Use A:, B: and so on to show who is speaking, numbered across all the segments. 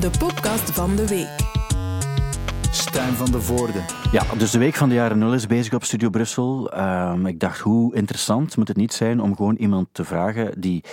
A: de podcast van de week.
B: Stijn van de Voorde.
C: Ja, dus de week van de jaren nul is bezig op Studio Brussel. Ehm, ik dacht, hoe interessant moet het niet zijn om gewoon iemand te vragen die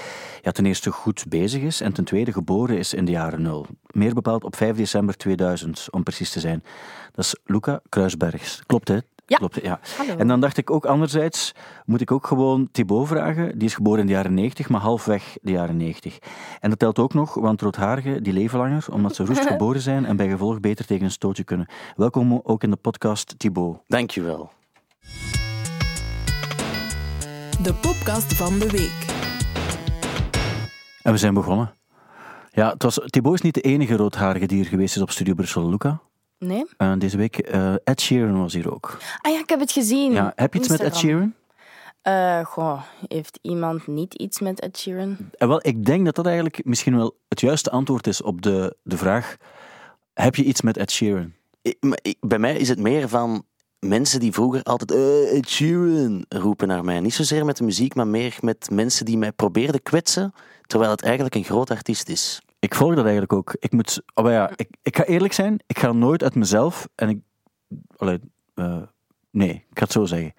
C: ja, ten eerste goed bezig is en ten tweede geboren is in de jaren nul. Meer bepaald op 5 december 2000, om precies te zijn. Dat is Luca Kruisbergs. Klopt, hè?
D: Ja.
C: Klopt, hè? ja.
D: Hallo.
C: En dan dacht ik ook anderzijds, moet ik ook gewoon Thibaut vragen. Die is geboren in de jaren 90, maar halfweg de jaren 90. En dat telt ook nog, want roodharigen die leven langer, omdat ze roest geboren zijn en bij gevolg beter tegen een stootje kunnen. Welkom ook in de podcast, Thibaut.
E: Dankjewel.
A: De podcast van de week.
C: En we zijn begonnen. Ja, het was, Thibaut is niet de enige roodharige die er geweest is op Studio Brussel, Luca.
D: Nee?
C: Eh, deze week, eh, Ed Sheeran was hier ook.
D: Ah ja, ik heb het gezien.
C: Ja, heb je iets met Ed
D: Instagram.
C: Sheeran?
D: Eh, goh, heeft iemand niet iets met Ed Sheeran?
C: En Eh, wel, ik denk dat dat eigenlijk misschien wel het juiste antwoord is op de, de vraag: heb je iets met Ed Sheeran?
E: Ik- maar ik- bij mij is het meer van mensen die vroeger altijd eh Ed Sheeran roepen naar mij. Niet zozeer met de muziek, maar meer met mensen die mij probeerden kwetsen, terwijl het eigenlijk een groot artiest is.
C: Ik volg dat eigenlijk ook. Ik moet, oh, maar
D: Hm.
C: ja, ik, ik ga eerlijk zijn, ik ga nooit uit mezelf en ik. Allee, eh, nee, ik ga het zo zeggen.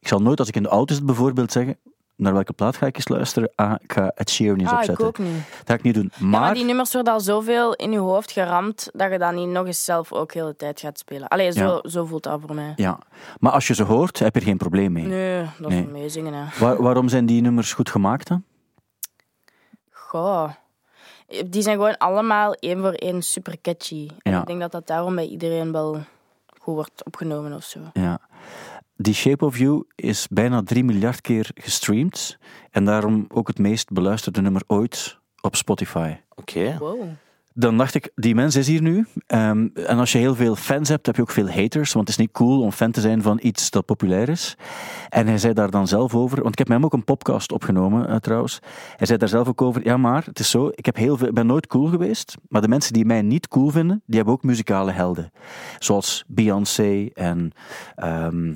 C: Ik zal nooit als ik in de auto zit bijvoorbeeld zeggen. Naar welke plaat ga ik eens luisteren? Ah, ik ga Ed Sheeran eens
D: ah, ik
C: opzetten.
D: ook niet.
C: Dat ga ik niet doen. Maar,
D: Ja, maar die nummers worden al zoveel in je hoofd geramd dat je dat niet nog eens zelf ook de hele tijd gaat spelen. Allee, zo, zo voelt dat voor mij.
C: ja. maar als je ze hoort, heb je er geen probleem mee.
D: Nee, dat is
C: Nee.
D: meezingen. hè.
C: Waar- waarom zijn die nummers goed gemaakt dan?
D: Goh. Die zijn gewoon allemaal één voor één super catchy. En
C: Ja.
D: ik denk dat dat daarom bij iedereen wel goed wordt opgenomen of zo.
C: Ja. Die Shape of You is bijna 3 miljard keer gestreamd. En daarom ook het meest beluisterde nummer ooit op Spotify.
E: Oké.
D: Wow.
C: Dan dacht ik, die mens is hier nu. Ehm, en als je heel veel fans hebt, heb je ook veel haters. Want het is niet cool om fan te zijn van iets dat populair is. En hij zei daar dan zelf over. Want ik heb met hem ook een podcast opgenomen, eh, trouwens. Hij zei daar zelf ook over. Ja, maar het is zo. Ik heb heel veel, ik ben nooit cool geweest. Maar de mensen die mij niet cool vinden, die hebben ook muzikale helden. Zoals Beyoncé en. ehm,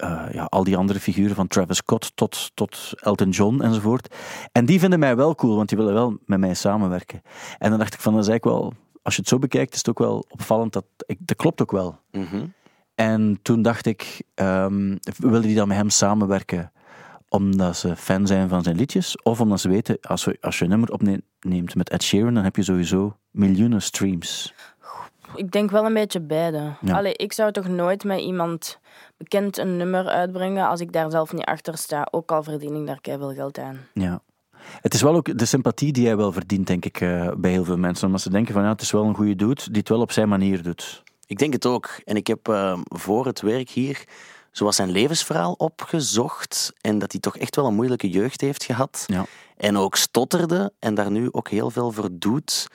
C: eh, ja, al die andere figuren van Travis Scott tot, tot Elton John enzovoort. En die vinden mij wel cool, want die willen wel met mij samenwerken. En dan dacht ik van, dat is eigenlijk wel... Als je het zo bekijkt, is het ook wel opvallend. Dat, ik, dat klopt ook wel.
E: Mhm.
C: En toen dacht ik, ehm willen die dan met hem samenwerken omdat ze fan zijn van zijn liedjes? Of omdat ze weten, als, we, als je een nummer opneemt met Ed Sheeran, dan heb je sowieso miljoenen streams.
D: Ik denk wel een beetje beide.
C: Ja.
D: Allee, ik zou toch nooit met iemand bekend een nummer uitbrengen als ik daar zelf niet achter sta. Ook al verdien ik daar keihard geld aan.
C: Ja. Het is wel ook de sympathie die hij wel verdient, denk ik, eh, bij heel veel mensen. Omdat ze denken van, ja, het is wel een goede dude die het wel op zijn manier doet.
E: Ik denk het ook. En ik heb eh, voor het werk hier zoals zijn levensverhaal opgezocht en dat hij toch echt wel een moeilijke jeugd heeft gehad.
C: Ja.
E: En ook stotterde en daar nu ook heel veel voor doet.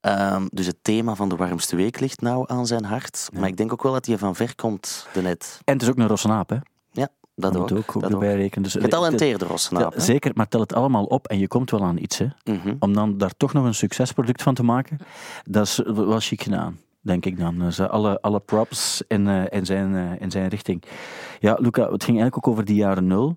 E: Ehm, dus het thema van de warmste week ligt nou aan zijn hart. Maar ik denk ook wel dat hij van ver komt, de net.
C: En het is ook een Rossenaap, hè.
E: Ja, dat,
C: Dat,
E: ook.
C: moet ook, ook
E: dat
C: erbij rekenen. Dus
E: Getalenteerde
C: tel-
E: Rossenaap. hè?
C: Zeker, maar tel het allemaal op en je komt wel aan iets, hè.
E: Mhm.
C: Om dan daar toch nog een succesproduct van te maken, dat is wel chic gedaan, denk ik dan. Dus eh, alle, alle props in, eh, in, zijn, eh, in zijn richting. Ja, Luca, het ging eigenlijk ook over die jaren nul.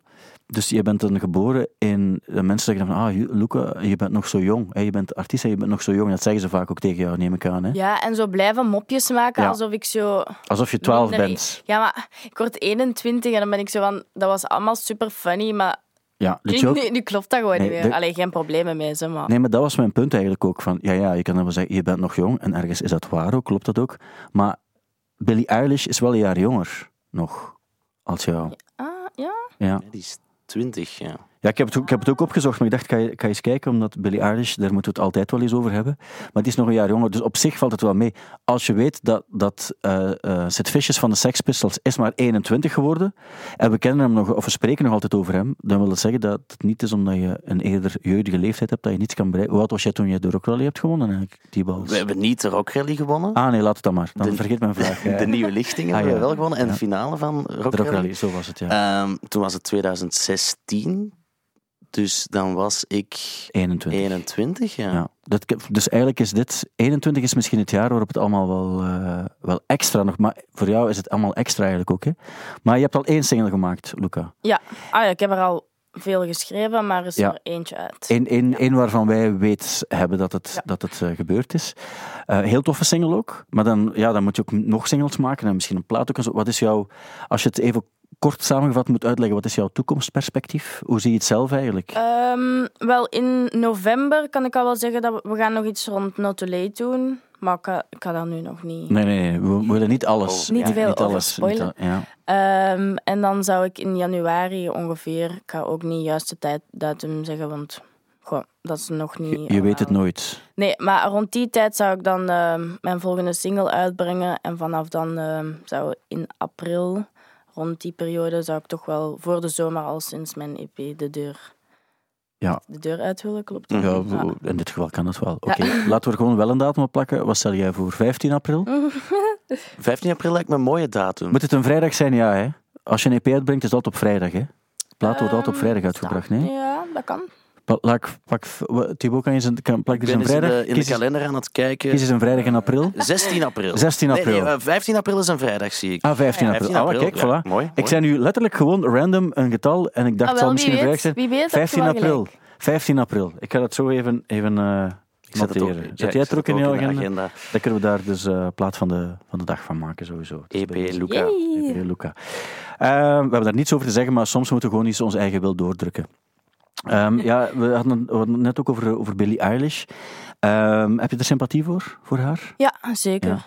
C: Dus je bent dan geboren in... de Mensen zeggen dan van, ah, Ju- Luca, je bent nog zo jong. Hè? Je bent artiest en je bent nog zo jong. Dat zeggen ze vaak ook tegen jou, neem ik aan. Hè?
D: Ja, en zo blijven mopjes maken
C: Ja.
D: alsof ik zo...
C: Alsof je twaalf
D: minder-
C: bent.
D: Ja, maar ik word 21 en dan ben ik zo van... Dat was allemaal super funny, maar
C: Ja, de
D: nu,
C: joke-
D: nu, nu klopt dat gewoon
C: Nee,
D: niet
C: de-
D: meer. Allee, geen problemen mee, zeg maar.
C: Nee, maar dat was mijn punt eigenlijk ook. Van, ja, ja, je kan dan wel zeggen, je bent nog jong. En ergens is dat waar ook, klopt dat ook. Maar Billie Eilish is wel een jaar jonger nog als jou.
D: Ah, ja?
C: Ja.
E: Ja, die is 20, ja.
C: Ja, ik heb, het, ook- ik heb het ook opgezocht, maar ik dacht, ik ga, je- ik ga eens kijken, omdat Billie Eilish, daar moeten we het altijd wel eens over hebben. Maar die is nog een jaar jonger, dus op zich valt het wel mee. Als je weet dat, dat eh eh, Sid Vicious van de Sex Pistols is maar 21 geworden, en we kennen hem nog, of we spreken nog altijd over hem, dan wil dat zeggen dat het niet is omdat je een eerder jeugdige leeftijd hebt, dat je niets kan bereiken. Hoe oud was jij toen jij de Rock Rally hebt gewonnen eigenlijk, die
E: We
C: bals?
E: hebben niet de Rock Rally gewonnen.
C: Ah nee, laat het dan maar. Dan
E: De-
C: vergeet mijn vraag. Ja,
E: De nieuwe lichting hebben
C: Ah, ja.
E: we wel gewonnen. En de finale van Rock,
C: de Rock
E: Rally.
C: Rally, zo was het, ja.
E: Ehm, toen was het 2016. Dus dan was ik
C: 21.
E: 21, ja.
C: Ja, dat, dus eigenlijk is dit, 21 is misschien het jaar waarop het allemaal wel, eh, wel extra nog, maar voor jou is het allemaal extra eigenlijk ook. Hè? Maar je hebt al één single gemaakt, Luca.
D: Ja. Ah ja, ik heb er al veel geschreven, maar er is
C: Ja.
D: er eentje uit.
C: Eén één- één waarvan wij weet hebben dat het,
D: Ja.
C: dat het eh, gebeurd is. Eh, heel toffe single ook. Maar dan, ja, dan moet je ook nog singles maken en misschien een plaat ook. En zo. Wat is jouw, als je het even kort samengevat moet uitleggen, wat is jouw toekomstperspectief? Hoe zie je het zelf eigenlijk?
D: Ehm, wel, in november kan ik al wel zeggen dat we, we gaan nog iets rond Not Too Late doen. Maar ik ga, ik ga dat nu nog niet.
C: nee, nee, nee, we we willen niet alles.
D: Oh, niet
C: ja,
D: veel over
C: alles.
D: spoilen.
C: al- ja.
D: Ehm, en dan zou ik in januari ongeveer, ik ga ook niet juist de tijd, datum zeggen, want goh, dat is nog niet.
C: Je, je weet het
D: allemaal.
C: nooit.
D: Nee, maar rond die tijd zou ik dan ehm, mijn volgende single uitbrengen. En vanaf dan ehm, zou in april, rond die periode, zou ik toch wel voor de zomer al sinds mijn EP de deur,
C: Ja. Mm.
D: de deur uithullen, klopt.
E: Mhm.
C: Ja,
D: Ja.
C: w- in dit geval kan dat wel. Oké, laten we er gewoon wel een datum op plakken. Wat stel jij voor 15 april?
D: Mhm.
E: 15 april lijkt me een mooie datum.
C: Moet het een vrijdag zijn? Ja, hè? Als je een EP uitbrengt, is dat op vrijdag, hè? Plaat wordt altijd op
D: Ehm,
C: vrijdag uitgebracht, nee?
D: Ja, dat kan.
C: Pa- Laat ik, pak, wa- Thibaut, kan je zijn, kan, plak
E: Ik
C: er
E: ben
C: een
E: eens in
C: vrijdag?
E: de, in de
C: kies, eens-
E: kalender aan het kijken.
C: kies eens een vrijdag in april.
E: 16 april.
C: 16
E: Nee,
C: april.
E: nee, eh, 15 april is een vrijdag, zie ik.
C: Ah, 15 april.
E: 15
C: Ah,
E: april,
C: kijk,
E: ja.
C: voilà.
E: Mooi,
C: Ik
E: mooi.
C: zei nu letterlijk gewoon random een getal en ik dacht,
D: Ah,
C: het
D: wel,
C: zal misschien een
D: wie
C: vrijdag zijn.
D: weet. Wie weet, heb je
C: 15
D: wel
C: april. 15 april. Ik ga dat zo even, even eh
E: zet het ook-
C: noteren.
E: ja,
C: Zet
E: ik
C: jij
E: zet
C: het er ook
E: het
C: in je
E: ook in de
C: agenda?
E: agenda.
C: Dan kunnen we daar dus eh plaat van de, van de dag van maken, sowieso. Dus
E: EP
C: bij deze.
E: Luca.
D: Yay.
C: EP Luca. Ehm, we hebben daar niets over te zeggen, maar soms moeten we gewoon eens ons eigen wil doordrukken. Ehm, ja, we hadden, we hadden het net ook over, over Billie Eilish. Ehm, heb je er sympathie voor, voor haar?
D: Ja, ah, zeker.
C: Ja.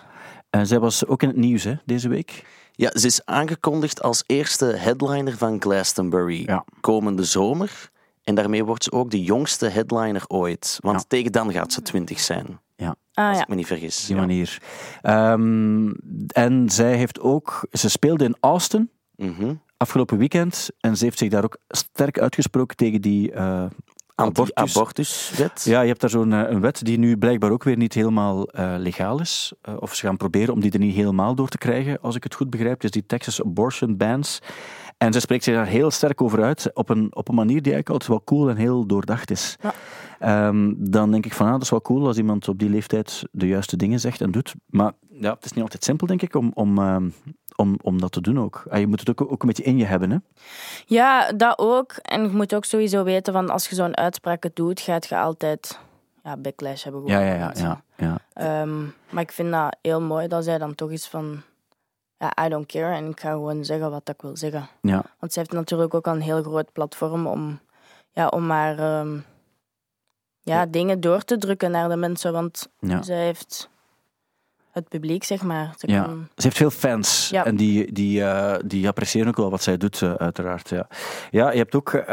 C: En zij was ook in het nieuws hè, deze week.
E: Ja, ze is aangekondigd als eerste headliner van Glastonbury
C: Ja.
E: komende zomer. En daarmee wordt ze ook de jongste headliner ooit. Want
C: Ja.
E: tegen dan gaat ze 20 zijn,
D: Ah
E: als
D: ja.
E: ik me niet vergis.
C: Op die manier. Ehm, en zij heeft ook... Ze speelde in Austin
E: Mhm.
C: afgelopen weekend. En ze heeft zich daar ook sterk uitgesproken tegen die... eh, Abortus.
E: Anti-abortuswet.
C: ja, je hebt daar zo'n eh, een wet die nu blijkbaar ook weer niet helemaal eh, legaal is. Eh, of ze gaan proberen om die er niet helemaal door te krijgen, als ik het goed begrijp. Dus die Texas abortion bans. En ze spreekt zich daar heel sterk over uit, op een, op een manier die eigenlijk altijd wel cool en heel doordacht is.
D: Ja.
C: Ehm, dan denk ik van, ah, dat is wel cool als iemand op die leeftijd de juiste dingen zegt en doet. Maar ja, het is niet altijd simpel, denk ik, om, om, ehm, om, om dat te doen ook. Ah, je moet het ook, ook een beetje in je hebben, hè.
D: Ja, dat ook. En je moet ook sowieso weten van als je zo'n uitspraak doet, gaat je altijd ja, backlash hebben. gewoon.
C: ja.
D: Ehm, maar ik vind dat heel mooi dat zij dan toch is van ja, I don't care en ik ga gewoon zeggen wat ik wil zeggen.
C: ja.
D: Want zij heeft natuurlijk ook al een heel groot platform om, ja, om haar ehm, ja, dingen door te drukken naar de mensen. Want
C: Ja.
D: zij heeft het publiek, zeg maar. Ze
C: Ja.
D: kan-
C: Ze heeft veel fans
D: Ja.
C: en die, die, eh, die appreciëren ook wel wat zij doet, eh, uiteraard. Ja. ja, je hebt ook, eh,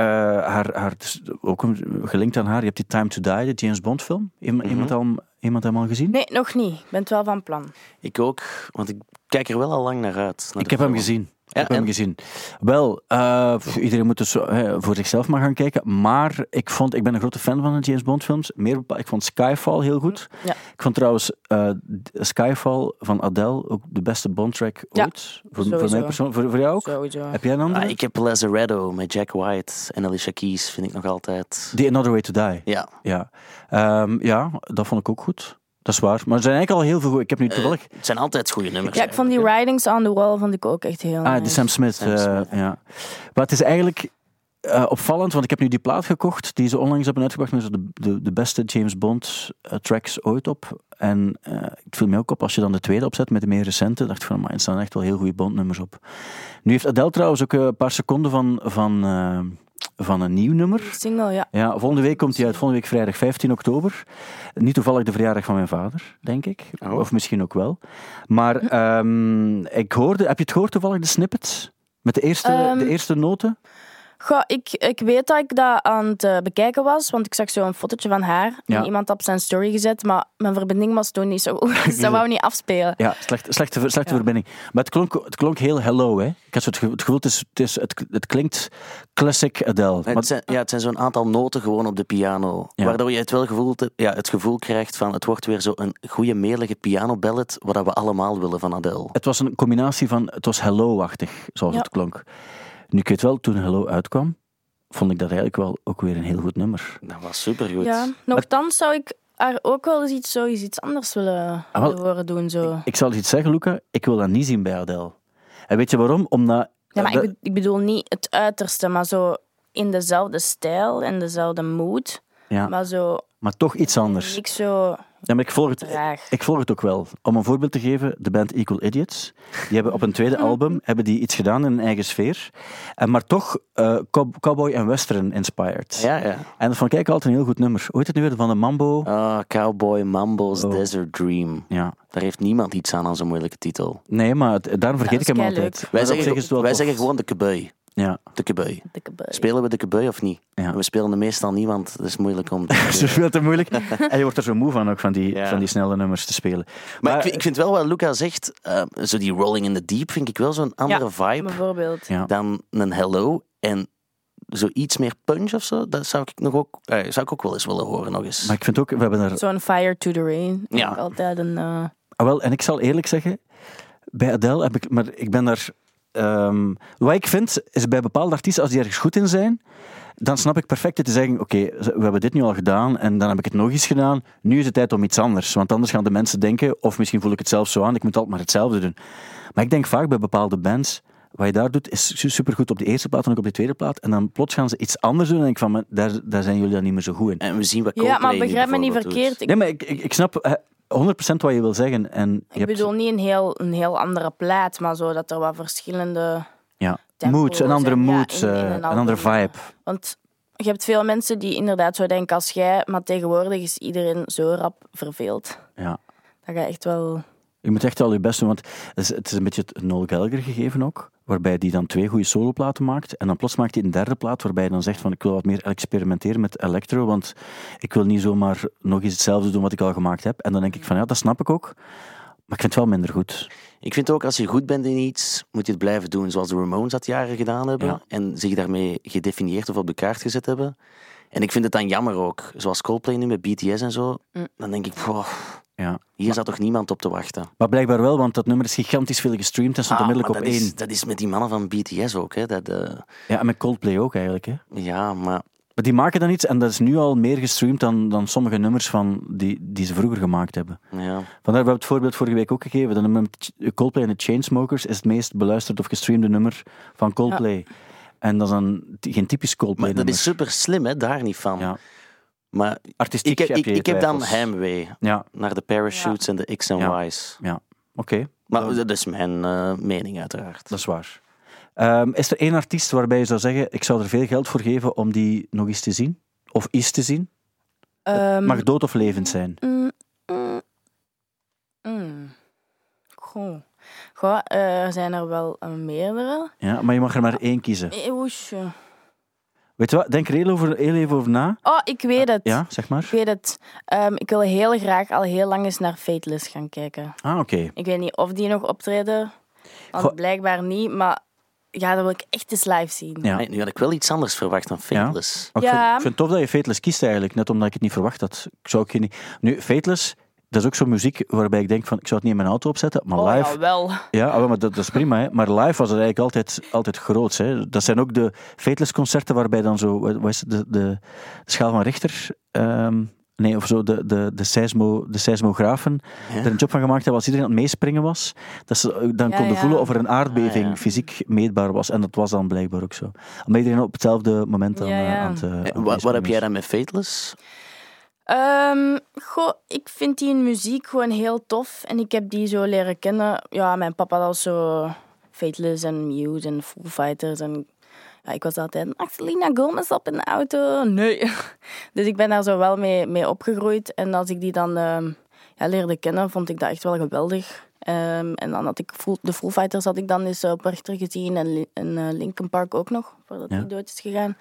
C: haar, haar, het is ook een- gelinkt aan haar, je hebt die Time to Die, de James Bond film. Iem- iemand, al, iemand hem al gezien?
D: Nee, nog niet. Ik ben het wel van plan.
E: Ik ook, want ik kijk er wel al lang naar uit. naar
C: Ik heb
E: de
C: hem
E: film.
C: gezien. Ik
E: Ja,
C: heb hem
E: en?
C: gezien. Wel, eh, pff, iedereen moet dus eh, voor zichzelf maar gaan kijken. Maar ik, vond, ik ben een grote fan van de James Bond films. Meer bepaald, ik vond Skyfall heel goed.
D: Mm, Ja.
C: Ik vond trouwens eh, Skyfall van Adele ook de beste Bond track
D: Ja,
C: ooit. Voor, voor,
D: sowieso.
C: mij persoon, voor, voor jou ook?
D: Sowieso.
C: Heb jij een andere?
E: Ah, ik heb Lazaretto met Jack White en Alicia Keys, vind ik nog altijd.
C: The Another Way to Die.
E: Ja,
C: Ja. Ehm, ja, dat vond ik ook goed. Dat is waar. Maar er zijn eigenlijk al heel veel goed. Ik heb nu toevallig.
E: het zijn altijd goede nummers.
D: Ja, ik vond die
E: eigenlijk,
D: Writings on the Wall vond ik ook echt heel
C: ah, de
D: nice.
C: Sam Smith.
E: oh, Sam
C: eh,
E: Smith.
C: ja. Maar het is eigenlijk eh, opvallend, want ik heb nu die plaat gekocht die ze onlangs hebben uitgebracht met zo de, de, de beste James Bond eh, tracks ooit op. En eh, het viel mij ook op als je dan de tweede opzet met de meer recente. dacht ik van, maar er staan echt wel heel goede Bond-nummers op. Nu heeft Adele trouwens ook eh, een paar seconden van, van, eh, van een nieuw nummer.
D: Single, ja.
C: Ja, volgende week komt hij uit. Volgende week vrijdag 15 oktober. Niet toevallig de verjaardag van mijn vader, denk ik.
E: Oh.
C: Of misschien ook wel. Maar ehm, ik hoorde... Heb je het gehoord toevallig, de snippets? Met de eerste,
D: Ehm.
C: de eerste noten?
D: Goh, ik, ik weet dat ik dat aan het eh, bekijken was, want ik zag zo'n fotootje van haar.
C: Ja.
D: En iemand had op zijn story gezet, maar mijn verbinding was toen niet zo goed. Dus dat wou niet afspelen.
C: Ja, slecht, slechte, ver- slechte
D: Ja.
C: verbinding. Maar het klonk, het klonk heel hello, hè? Ik had zo het ge- het gevoel, het, is, het, is, het, het klinkt classic Adele.
E: hè.
C: Maar-
E: Het zijn, ja, het zijn zo'n aantal noten gewoon op de piano.
C: Ja.
E: Waardoor je het wel gevoel, te- ja, het gevoel krijgt van het wordt weer zo'n goede, meerlijke pianoballet. Wat dat we allemaal willen van Adele.
C: Het was een combinatie van, het was hello-achtig, zoals
D: Ja.
C: het klonk. Nu, ik weet wel, toen hello uitkwam, vond ik dat eigenlijk wel ook weer een heel goed nummer.
E: Dat was supergoed.
D: Ja. Nochtans zou ik haar ook wel eens iets, zoiets iets anders willen,
C: Ah, wel.
D: willen horen doen. Zo.
C: Ik zal iets zeggen, Luca. Ik wil dat niet zien bij Adele. En weet je waarom? Omdat...
D: Ja, maar
C: dat-
D: ik, be- ik bedoel niet het uiterste, maar zo in dezelfde stijl en dezelfde mood,
C: Ja, maar,
D: maar zo
C: toch iets anders.
D: niet zo
C: Ja, maar ik volg het,
D: traag.
C: Ik volg het ook wel. Om een voorbeeld te geven, de band Equal Idiots. Die hebben op hun tweede album hebben die iets gedaan in hun eigen sfeer. En maar toch eh, cow- cowboy en western inspired.
E: Ja, ja.
C: En dat vond ik eigenlijk altijd een heel goed nummer. Hoe heet het nu weer? Van de Mambo?
E: Ah, Cowboy Mumbles
C: Oh.
E: Desert Dream.
C: Ja.
E: Daar heeft niemand iets aan aan zo'n moeilijke titel.
C: Nee, maar het- daarom vergeet
D: is
C: ik hem
D: keileuk.
C: altijd. Maar
E: Wij,
C: op zich
E: zeggen,
C: is het wel
E: wij
C: tof.
E: zeggen gewoon de kebui.
C: Ja.
E: De kebui.
D: dikke bui.
E: Spelen we de kebui of niet?
C: Ja.
E: We spelen er meestal niet, want het is moeilijk om... te-
C: Ze speelt te moeilijk. en je wordt er zo moe van ook, van die,
E: Ja.
C: van die snelle nummers te spelen.
E: Maar, ik, vind- ik vind wel wat Luca zegt, eh, zo die Rolling in the Deep vind ik wel zo'n andere vibe
D: Bijvoorbeeld.
C: Ja.
E: dan een Hello. En zoiets meer punch of zo, dat zou ik, nog ook, eh, zou ik ook wel eens willen horen nog eens.
C: Maar ik vind ook, we hebben er
D: Zo'n Fire to the Rain.
E: Ja.
D: Ook altijd een... eh,
C: Ah, wel, en ik zal eerlijk zeggen, bij Adele heb ik, maar ik ben daar. ehm, wat ik vind, is bij bepaalde artiesten, als die ergens goed in zijn, dan snap ik perfect het te zeggen: oké, we hebben dit nu al gedaan en dan heb ik het nog eens gedaan. Nu is het tijd om iets anders. Want anders gaan de mensen denken, of misschien voel ik het zelf zo aan, ik moet altijd maar hetzelfde doen. Maar ik denk vaak bij bepaalde bands. Wat je daar doet, is su- supergoed op de eerste plaat en ook op de tweede plaat. En dan plots gaan ze iets anders doen. En ik van, maar daar, daar zijn jullie dan niet meer zo goed in.
E: en we zien wat
D: ja,
E: Coldplay
D: maar
E: nu
D: begrijp me niet
E: bijvoorbeeld
D: verkeerd.
E: doet.
D: Ik,
C: Nee, maar ik, ik, ik snap eh, 100% wat je wil zeggen. En je
D: ik
C: hebt-
D: bedoel niet een heel, een heel andere plaat, maar zo dat er wat verschillende...
C: Ja,
D: tempo's
C: mood, een andere
D: en ja,
C: mood,
D: in- in
C: eh,
D: een
C: een
D: album,
C: andere vibe.
D: Want je hebt veel mensen die inderdaad zo denken als jij, maar tegenwoordig is iedereen zo rap verveeld.
C: Ja.
D: Dat ga je echt wel...
C: Je moet echt wel je best doen, want het is, het is een beetje het Noel Gallagher gegeven ook, waarbij die dan twee goede soloplaten maakt en dan plots maakt hij een derde plaat waarbij hij dan zegt van ik wil wat meer experimenteren met electro, want ik wil niet zomaar nog eens hetzelfde doen wat ik al gemaakt heb. En dan denk ik van ja, dat snap ik ook, maar ik vind het wel minder goed.
E: Ik vind ook, als je goed bent in iets, moet je het blijven doen zoals de Ramones dat jaren gedaan hebben.
C: Ja.
E: En zich daarmee gedefinieerd of op de kaart gezet hebben. En ik vind het dan jammer ook. Zoals Coldplay nu met BTS en zo.
D: Mm.
E: Dan denk ik, "Poh,
C: Ja.
E: hier zat toch niemand op te wachten.
C: Maar blijkbaar wel, want dat nummer is gigantisch veel gestreamd en stond
E: Ah,
C: onmiddellijk
E: maar
C: op
E: dat
C: één.
E: Is, dat is met die mannen van BTS ook. Hè. Dat, eh,
C: Ja, en met Coldplay ook eigenlijk. Hè.
E: ja, maar
C: Maar die maken dan iets en dat is nu al meer gestreamd dan, dan sommige nummers van die, die ze vroeger gemaakt hebben.
E: ja.
C: Vandaar, we hebben het voorbeeld vorige week ook gegeven. Dat nummer met Ch- Coldplay en de Chainsmokers is het meest beluisterd of gestreamde nummer van Coldplay. En dat is dan t- geen typisch Coldplay
E: maar dat is
C: nummer.
E: super slim, hè, daar niet van.
C: Ja.
E: Maar
C: Artistiek
E: ik, heb-
C: heb je
E: ik, ik heb dan
C: twijfels.
E: heimwee
C: Ja,
E: naar de parachutes en de X en
C: Ja.
E: Y's.
C: ja. oké,
E: Maar dat is mijn eh, mening uiteraard.
C: dat is waar. Ehm, is er één artiest waarbij je zou zeggen, ik zou er veel geld voor geven om die nog eens te zien? Of iets te zien? Eh,
D: Ehm,
C: Mag dood of levend zijn?
D: Mm, mm, mm. Goh. Goh, eh, er zijn er wel eh, meerdere.
C: Ja, maar je mag er maar één kiezen.
D: Eh, oesje.
C: Weet je wat, denk er heel, over, heel even over na.
D: Oh, ik weet het.
C: Ja, zeg maar.
D: Ik weet het. Ehm, ik wil heel graag al heel lang eens naar Fateless gaan kijken.
C: Ah, oké.
D: Ik weet niet of die nog optreden. Want
C: Goh.
D: blijkbaar niet. Maar ja, dat wil ik echt eens live zien.
C: Ja.
E: Nee, nu had ik wel iets anders verwacht dan Fateless.
C: Maar Ik,
D: Ja.
C: vind, ik vind het tof dat je Fateless kiest eigenlijk, net omdat ik het niet verwacht had. Ik zou ook geen... Nu, Fateless, dat is ook zo'n muziek waarbij ik denk van, ik zou het niet in mijn auto opzetten, maar
D: Oh,
C: live...
D: ja, wel.
C: Ja, ah, wel, maar dat, dat is prima, hè. maar live was het eigenlijk altijd, altijd groots. Hè. Dat zijn ook de Fateless concerten waarbij dan zo, wat wat is het, de, de, de schaal van Richter... ehm, Nee, of zo, de, de, de, seismo, de seismografen
E: Ja.
C: er een job van gemaakt hebben als iedereen aan het meespringen was. Dat ze eh, dan
D: Ja,
C: konden
D: ja.
C: voelen of er een aardbeving
E: Ah, ja.
C: fysiek meetbaar was. En dat was dan blijkbaar ook zo. Omdat iedereen op hetzelfde moment aan,
D: Ja,
C: eh,
D: ja.
C: aan het... eh, aan
E: Eh,
C: het
E: wa- wat,
C: meespringen
E: heb
C: was.
E: jij dan met Fateless?
D: Ehm, goh, ik vind die muziek gewoon heel tof. En ik heb die zo leren kennen. Ja, mijn papa had al zo Fateless en Muse en Foo Fighters. En ja, ik was altijd, mag Selena Gomez op in de auto? Nee. Dus ik ben daar zo wel mee, mee opgegroeid. En als ik die dan ehm, ja, leerde kennen, vond ik dat echt wel geweldig. Ehm, en dan had ik Foo- de Foo Fighters had ik dan eens op Richter gezien. En, Li- en eh, Linkin Park ook nog, voordat
C: Ja.
D: die dood is gegaan.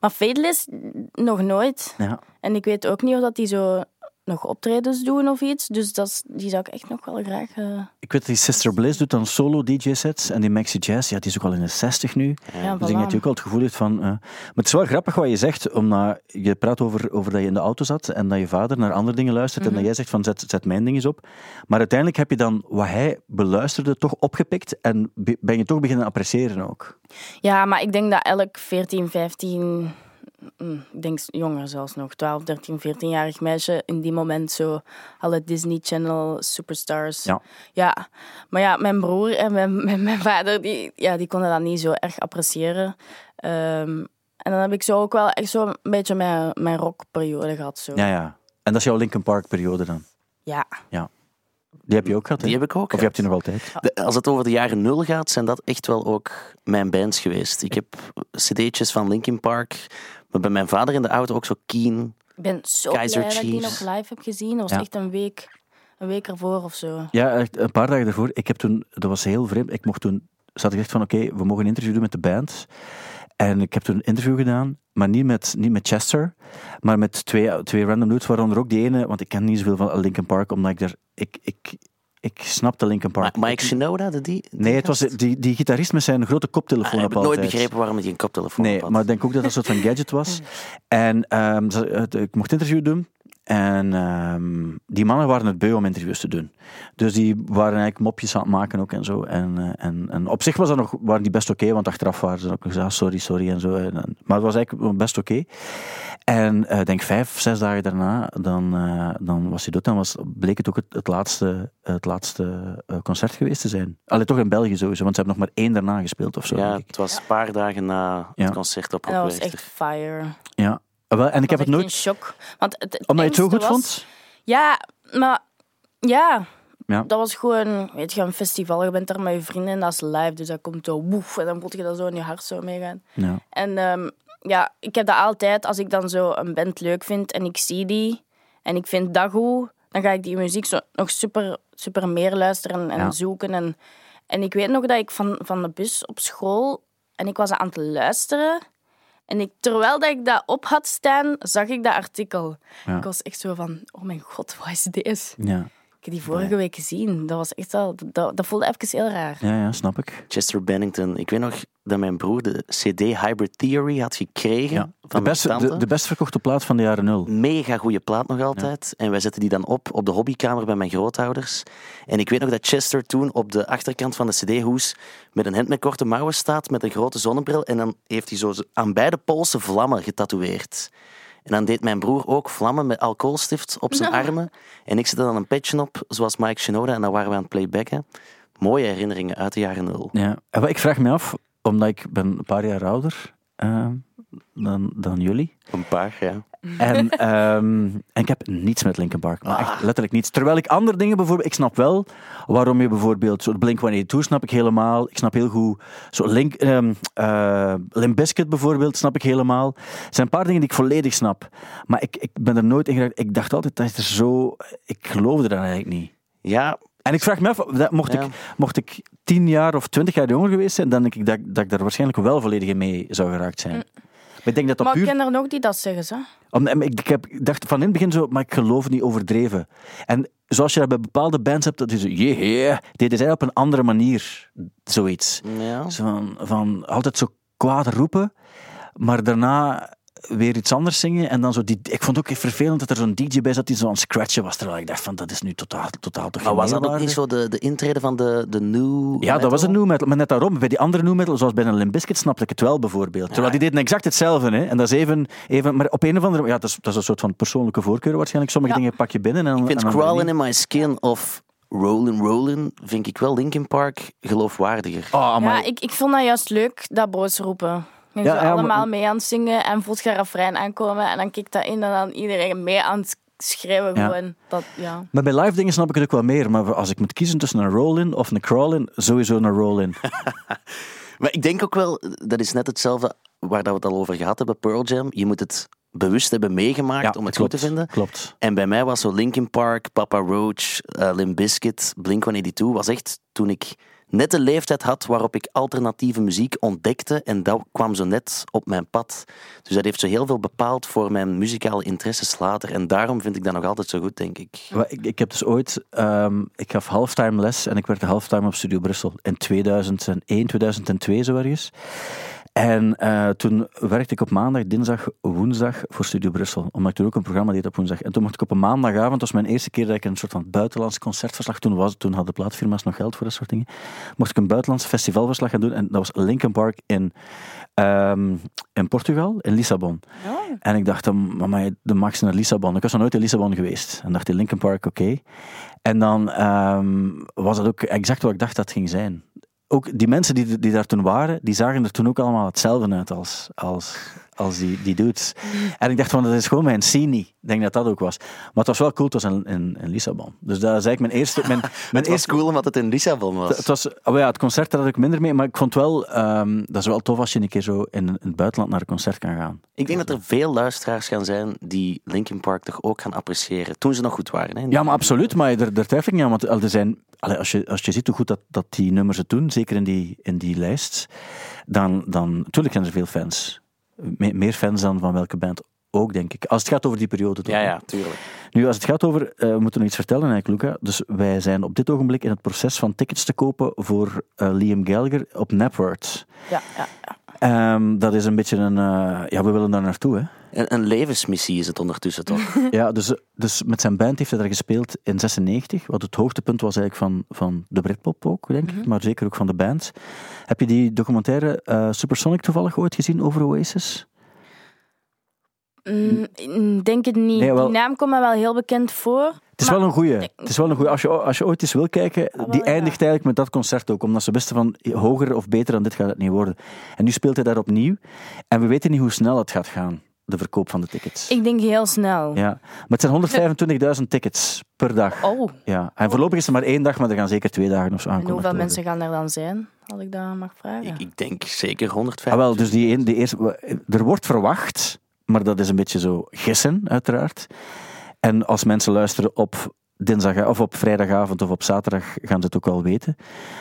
D: Maar Fateless nog nooit.
C: Ja.
D: En ik weet ook niet of dat die zo nog optredens doen of iets. Dus dat is- die zou ik echt nog wel graag. eh,
C: Ik weet dat die Sister Bliss doet dan solo DJ-sets. En die Maxi Jazz, ja, die is ook al in de 60 nu.
D: ja,
C: Dus ik denk dat
D: voilà.
C: je ook al het gevoel heeft van... eh, Maar het is wel grappig wat je zegt, omdat je praat over, over dat je in de auto zat en dat je vader naar andere dingen luistert en
E: Mhm.
C: dat jij zegt van zet, zet mijn ding eens op. Maar uiteindelijk heb je dan wat hij beluisterde toch opgepikt en be- ben je toch beginnen appreciëren ook.
D: Ja, maar ik denk dat elk 14, 15. mm, Ik denk jonger zelfs nog, 12, 13, 14-jarig meisje. In die moment zo alle Disney Channel superstars.
C: Ja.
D: Ja. Maar ja, mijn broer en mijn, mijn, mijn vader, die, ja, die konden dat niet zo erg appreciëren. Ehm, En dan heb ik zo ook wel echt zo een beetje mijn, mijn rockperiode gehad. Zo.
C: Ja, ja. En dat is jouw Linkin Park periode dan?
D: Ja.
C: Die heb je ook gehad, hè?
E: Die heb ik ook.
C: Of je hebt die nog altijd?
E: De- als het over de jaren nul gaat, zijn dat echt wel ook mijn bands geweest. Ik heb cd'tjes van Linkin Park, maar bij mijn vader in de auto ook zo Keen.
D: Ik ben zo
E: Kaiser
D: blij dat ik die nog
E: Chiefs.
D: live heb gezien. Dat was
C: Ja.
D: echt een week, een week ervoor of zo.
C: Ja, echt een paar dagen daarvoor. Ik heb toen, dat was heel vreemd. Ik mocht toen, zat ik echt van, oké, we mogen een interview doen met de band. En ik heb toen een interview gedaan, maar niet met, niet met Chester, maar met twee, twee random dudes, waaronder ook die ene, want ik ken niet zoveel van Linkin Park, omdat ik daar, ik, ik, ik snapte Linkin
E: Ma-
C: Park.
E: Mike Shinoda, de die? die
C: Nee, het was
E: gast?
C: die, die gitarist met zijn grote
E: Ah,
C: koptelefoon
E: ik heb
C: op
E: nooit
C: altijd.
E: begrepen waarom hij geen koptelefoon
C: Nee,
E: op had.
C: maar ik denk ook dat dat een soort van gadget was. En ehm, ze- het- ik mocht interview doen. En ehm, die mannen waren het beu om interviews te doen. Dus die waren eigenlijk mopjes aan het maken ook en zo. En, eh, en, en op zich was dat nog, waren die best oké, want achteraf waren ze ook nog gezegd, sorry, sorry en zo. En- en- maar het was eigenlijk best oké. En eh, ik denk vijf, zes dagen daarna, dan, eh, dan was hij dood. Dan was, bleek het ook het, het laatste, het laatste eh, concert geweest te zijn. Allee, toch in België sowieso, want ze hebben nog maar één daarna gespeeld of zo.
E: ja,
C: denk ik.
E: het was een paar dagen na
C: Ja.
E: het concert op
D: En dat was echt
E: Rockwerchter.
D: fire. Ik
C: Ja. Ah, Wel, en ik heb het nooit...
D: in shock. Want het, het
C: Omdat je het zo
D: engste
C: goed
D: was-
C: vond?
D: Ja, maar ja.
C: Ja.
D: Dat was gewoon, weet je, een festival. Je bent daar met je vrienden en dat is live. Dus dat komt zo woef. En dan voel je dat zo in je hart zo meegaan.
C: Ja.
D: En ehm, ja, ik heb dat altijd. Als ik dan zo een band leuk vind en ik zie die en ik vind dat goed, dan ga ik die muziek zo, nog super, super meer luisteren en
C: Ja.
D: zoeken. En, en ik weet nog dat ik van, van de bus op school en ik was aan het luisteren. En ik, terwijl dat ik dat op had staan, zag ik dat artikel.
C: Ja.
D: Ik was echt zo van, oh mijn god, wat is dit?
C: Ja.
D: Ik heb die vorige week gezien. Dat was echt wel, dat, dat voelde even heel raar.
C: ja, ja, snap ik.
E: Chester Bennington. Ik weet nog dat mijn broer de CD Hybrid Theory had gekregen
C: Ja. De,
E: van mijn
C: best,
E: tante.
C: de, de best verkochte plaat van de jaren nul.
E: mega goede plaat nog altijd. En wij zetten die dan op op de hobbykamer bij mijn grootouders. En ik weet nog dat Chester toen op de achterkant van de CD-hoes met een hemd met korte mouwen staat, met een grote zonnebril. En dan heeft hij zo z- aan beide polsen vlammen getatoeëerd. En dan deed mijn broer ook vlammen met alcoholstift op zijn armen. En ik zette dan een petje op, zoals Mike Shinoda. En dan waren we aan het playbacken. Mooie herinneringen uit de jaren nul.
C: Ja. En wat ik vraag me af, omdat ik ben een paar jaar ouder eh, dan, dan jullie.
E: Een paar, ja.
C: En, ehm, en ik heb niets met Linkin Park. Maar echt letterlijk niets. Terwijl ik andere dingen bijvoorbeeld... Ik snap wel waarom je bijvoorbeeld... Zo Blink-182 snap ik helemaal. Ik snap heel goed... Zo Link, ehm eh, Limp Bizkit bijvoorbeeld snap ik helemaal. Er zijn een paar dingen die ik volledig snap. Maar ik, ik ben er nooit in geraakt. Ik dacht altijd, dat is er zo... Ik geloofde dat eigenlijk niet.
E: Ja,
C: En ik vraag me af, dat mocht,
E: Ja.
C: ik, mocht ik tien jaar of twintig jaar jonger geweest zijn, dan denk ik dat, dat ik daar waarschijnlijk wel volledig in mee zou geraakt zijn. Maar ik denk dat dat
D: Mm. Maar ik
C: puur...
D: ken er nog die dat zeggen, ze.
C: Om- en ik, ik, heb, ik dacht van in het begin zo, maar ik geloof niet overdreven. En zoals je dat bij bepaalde bands hebt, dat is zo, yeah, yeah, dit is eigenlijk op een andere manier zoiets.
E: ja.
C: Zo van, van altijd zo kwaad roepen, maar daarna weer iets anders zingen. En dan zo die, ik vond het ook vervelend dat er zo'n DJ bij zat die zo aan het scratchen was. Terwijl ik dacht van, dat is nu totaal, totaal toch
E: Maar
C: geen
E: was dat ook
C: meerwaarde?
E: niet zo de, de intrede van de, de new
C: Ja, dat was
E: metal?
C: een new metal. Maar net daarom, bij die andere new metal, zoals bij een Limp Bizkit, snapte ik het wel bijvoorbeeld. Terwijl die deden exact hetzelfde. Hè? En dat is even, even... Maar op een of andere... Ja, dat is, dat is een soort van persoonlijke voorkeur waarschijnlijk. Sommige dingen pak je binnen en...
E: Ik vind
C: en andere
E: Crawling
C: niet.
E: in My Skin of Rollin' Rollin' vind ik wel Linkin Park geloofwaardiger.
C: Oh, amai.
D: Ja, ik, ik vond dat juist leuk, dat broos roepen. Je
C: Ja,
D: ja,
C: ja, maar-
D: allemaal mee aan het zingen en voelt je refrein aankomen. En dan kikt dat in en dan iedereen mee aan het schreeuwen.
C: Ja.
D: Gewoon. Dat, ja.
C: Maar bij live dingen snap ik het ook wel meer. Maar als ik moet kiezen tussen een roll-in of een crawl-in, sowieso een roll-in.
E: Maar ik denk ook wel, dat is net hetzelfde waar dat we het al over gehad hebben, Pearl Jam. Je moet het bewust hebben meegemaakt om het goed te vinden.
C: Klopt.
E: En bij mij was zo Linkin Park, Papa Roach, eh Limp Bizkit, Blink-182 was echt toen ik net de leeftijd had waarop ik alternatieve muziek ontdekte en dat kwam zo net op mijn pad. Dus dat heeft zo heel veel bepaald voor mijn muzikale interesses later en daarom vind ik dat nog altijd zo goed, denk ik.
C: Wel, Ik, ik heb dus ooit... ehm, ik gaf halftime les en ik werd halftime op Studio Brussel. In 2001, 2002 zo ergens. En eh, toen werkte ik op maandag, dinsdag, woensdag voor Studio Brussel. Omdat ik toen ook een programma deed op woensdag. En toen mocht ik op een maandagavond, dat was mijn eerste keer dat ik een soort van buitenlands concertverslag... Toen, was, toen hadden plaatfirma's nog geld voor dat soort dingen. Mocht ik een buitenlands festivalverslag gaan doen. En dat was Linkin Park in, ehm, in Portugal, in Lissabon. En ik dacht, mama, de max naar Lissabon. Ik was nog nooit in Lissabon geweest. En dacht, in Linkin Park, oké. En dan ehm, was dat ook exact wat ik dacht dat het ging zijn. ook die mensen die, die daar toen waren, die zagen er toen ook allemaal hetzelfde uit als, als, als die, die dudes. En ik dacht van, dat is gewoon mijn scene niet. Ik denk dat dat ook was. Maar het was wel cool, het was in, in, in Lissabon. Dus dat is eigenlijk mijn eerste... Mijn, mijn
E: Het was
C: eerste
E: cool omdat het in Lissabon was.
C: het, was, oh ja, het concert daar had ik minder mee, maar ik vond wel, ehm, dat is wel tof als je een keer zo in, in het buitenland naar een concert kan gaan.
E: Ik denk dat er veel luisteraars gaan zijn die Linkin Park toch ook gaan appreciëren. Toen ze nog goed waren. Hè?
C: Ja, maar absoluut. Maar daar, daar twijfel ik niet aan. Want er zijn, allee, als, je, als je ziet hoe goed dat, dat die nummers het doen, zeker in die, in die lijst, dan, dan natuurlijk zijn er veel fans. Me- meer fans dan van welke band ook, denk ik. Als het gaat over die periode. toch?
E: ja, ja, tuurlijk.
C: Nu, als het gaat over, eh, we moeten nog iets vertellen eigenlijk, Luca. Dus wij zijn op dit ogenblik in het proces van tickets te kopen voor eh, Liam Gallagher op Napworld.
D: Ja, ja, ja.
C: Ehm, dat is een beetje een, eh, ja, we willen daar naartoe, hè.
E: Een, een levensmissie is het ondertussen toch?
C: Ja, dus, dus met zijn band heeft hij daar gespeeld in 96, wat het hoogtepunt was eigenlijk van, van de Britpop ook, denk
D: Mhm.
C: ik, maar zeker ook van de band. Heb je die documentaire eh, Supersonic toevallig ooit gezien over Oasis?
D: Mm, ik denk het niet.
C: Nee, wel-
D: Die naam komt me wel heel bekend voor.
C: Het is
D: maar- Ah,
C: wel een goeie. Het is wel een goeie. Als je, o- als je ooit eens wil kijken,
D: wel,
C: die
D: ja.
C: eindigt eigenlijk met dat concert ook, omdat ze wisten van hoger of beter dan dit gaat het niet worden. En nu speelt hij daar opnieuw en we weten niet hoe snel het gaat gaan, de verkoop van de tickets.
D: Ik denk heel snel.
C: Ja, maar het zijn 125.000 tickets per dag.
D: Oh,
C: Ja, en voorlopig is er maar één dag, maar er gaan zeker twee dagen of zo
D: en
C: aankomen.
D: hoeveel mensen gaan er dan zijn? Had ik daar mag vragen.
E: Ik, ik denk zeker 150.
C: Ah, wel, dus die, een- die eerste, we- er wordt verwacht, maar dat is een beetje zo gissen, uiteraard. En als mensen luisteren op dinsdag of op vrijdagavond of op zaterdag, gaan ze het ook wel weten.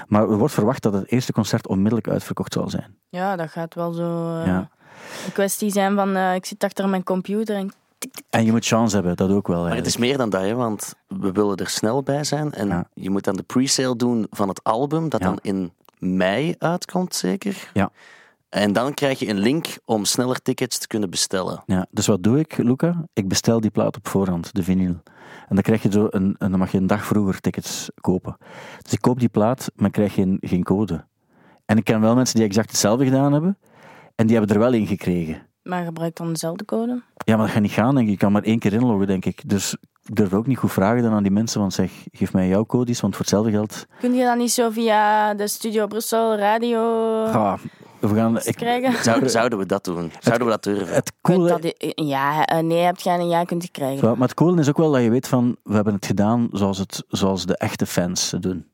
C: Maar er wordt verwacht dat het eerste concert onmiddellijk uitverkocht zal zijn.
D: Ja, dat gaat wel zo eh,
C: Ja.
D: een kwestie zijn van eh, ik zit achter mijn computer en
C: En je moet chance hebben, dat ook wel.
E: Maar het
C: eigenlijk.
E: is meer dan dat, hè, want we willen er snel bij zijn. En
C: Ja.
E: je moet dan de pre-sale doen van het album, dat
C: Ja.
E: dan in mei uitkomt, zeker.
C: Ja.
E: En dan krijg je een link om sneller tickets te kunnen bestellen.
C: Ja, dus wat doe ik, Luca? Ik bestel die plaat op voorhand, de vinyl. En dan, krijg je zo een, en dan mag je een dag vroeger tickets kopen. Dus ik koop die plaat, maar ik krijg geen, geen code. En ik ken wel mensen die exact hetzelfde gedaan hebben. En die hebben er wel één gekregen.
D: maar gebruik dan dezelfde code.
C: Ja, maar dat gaat niet gaan, denk ik. Je kan maar één keer inloggen, denk ik. Dus ik durf ook niet goed vragen dan aan die mensen. Want zeg, geef mij jouw codes, want voor hetzelfde geld...
D: Kun je dat niet zo via de Studio Brussel radio?
C: Ah, we gaan...
D: te krijgen?
E: Zou- zouden we dat doen? Zouden we dat durven?
C: Het
D: Kunt
C: coole...
D: dat, ja, eh, nee, heb je een ja kunt je krijgen.
C: Zo, maar het coole is ook wel dat je weet van, we hebben het gedaan zoals, het, zoals de echte fans het doen.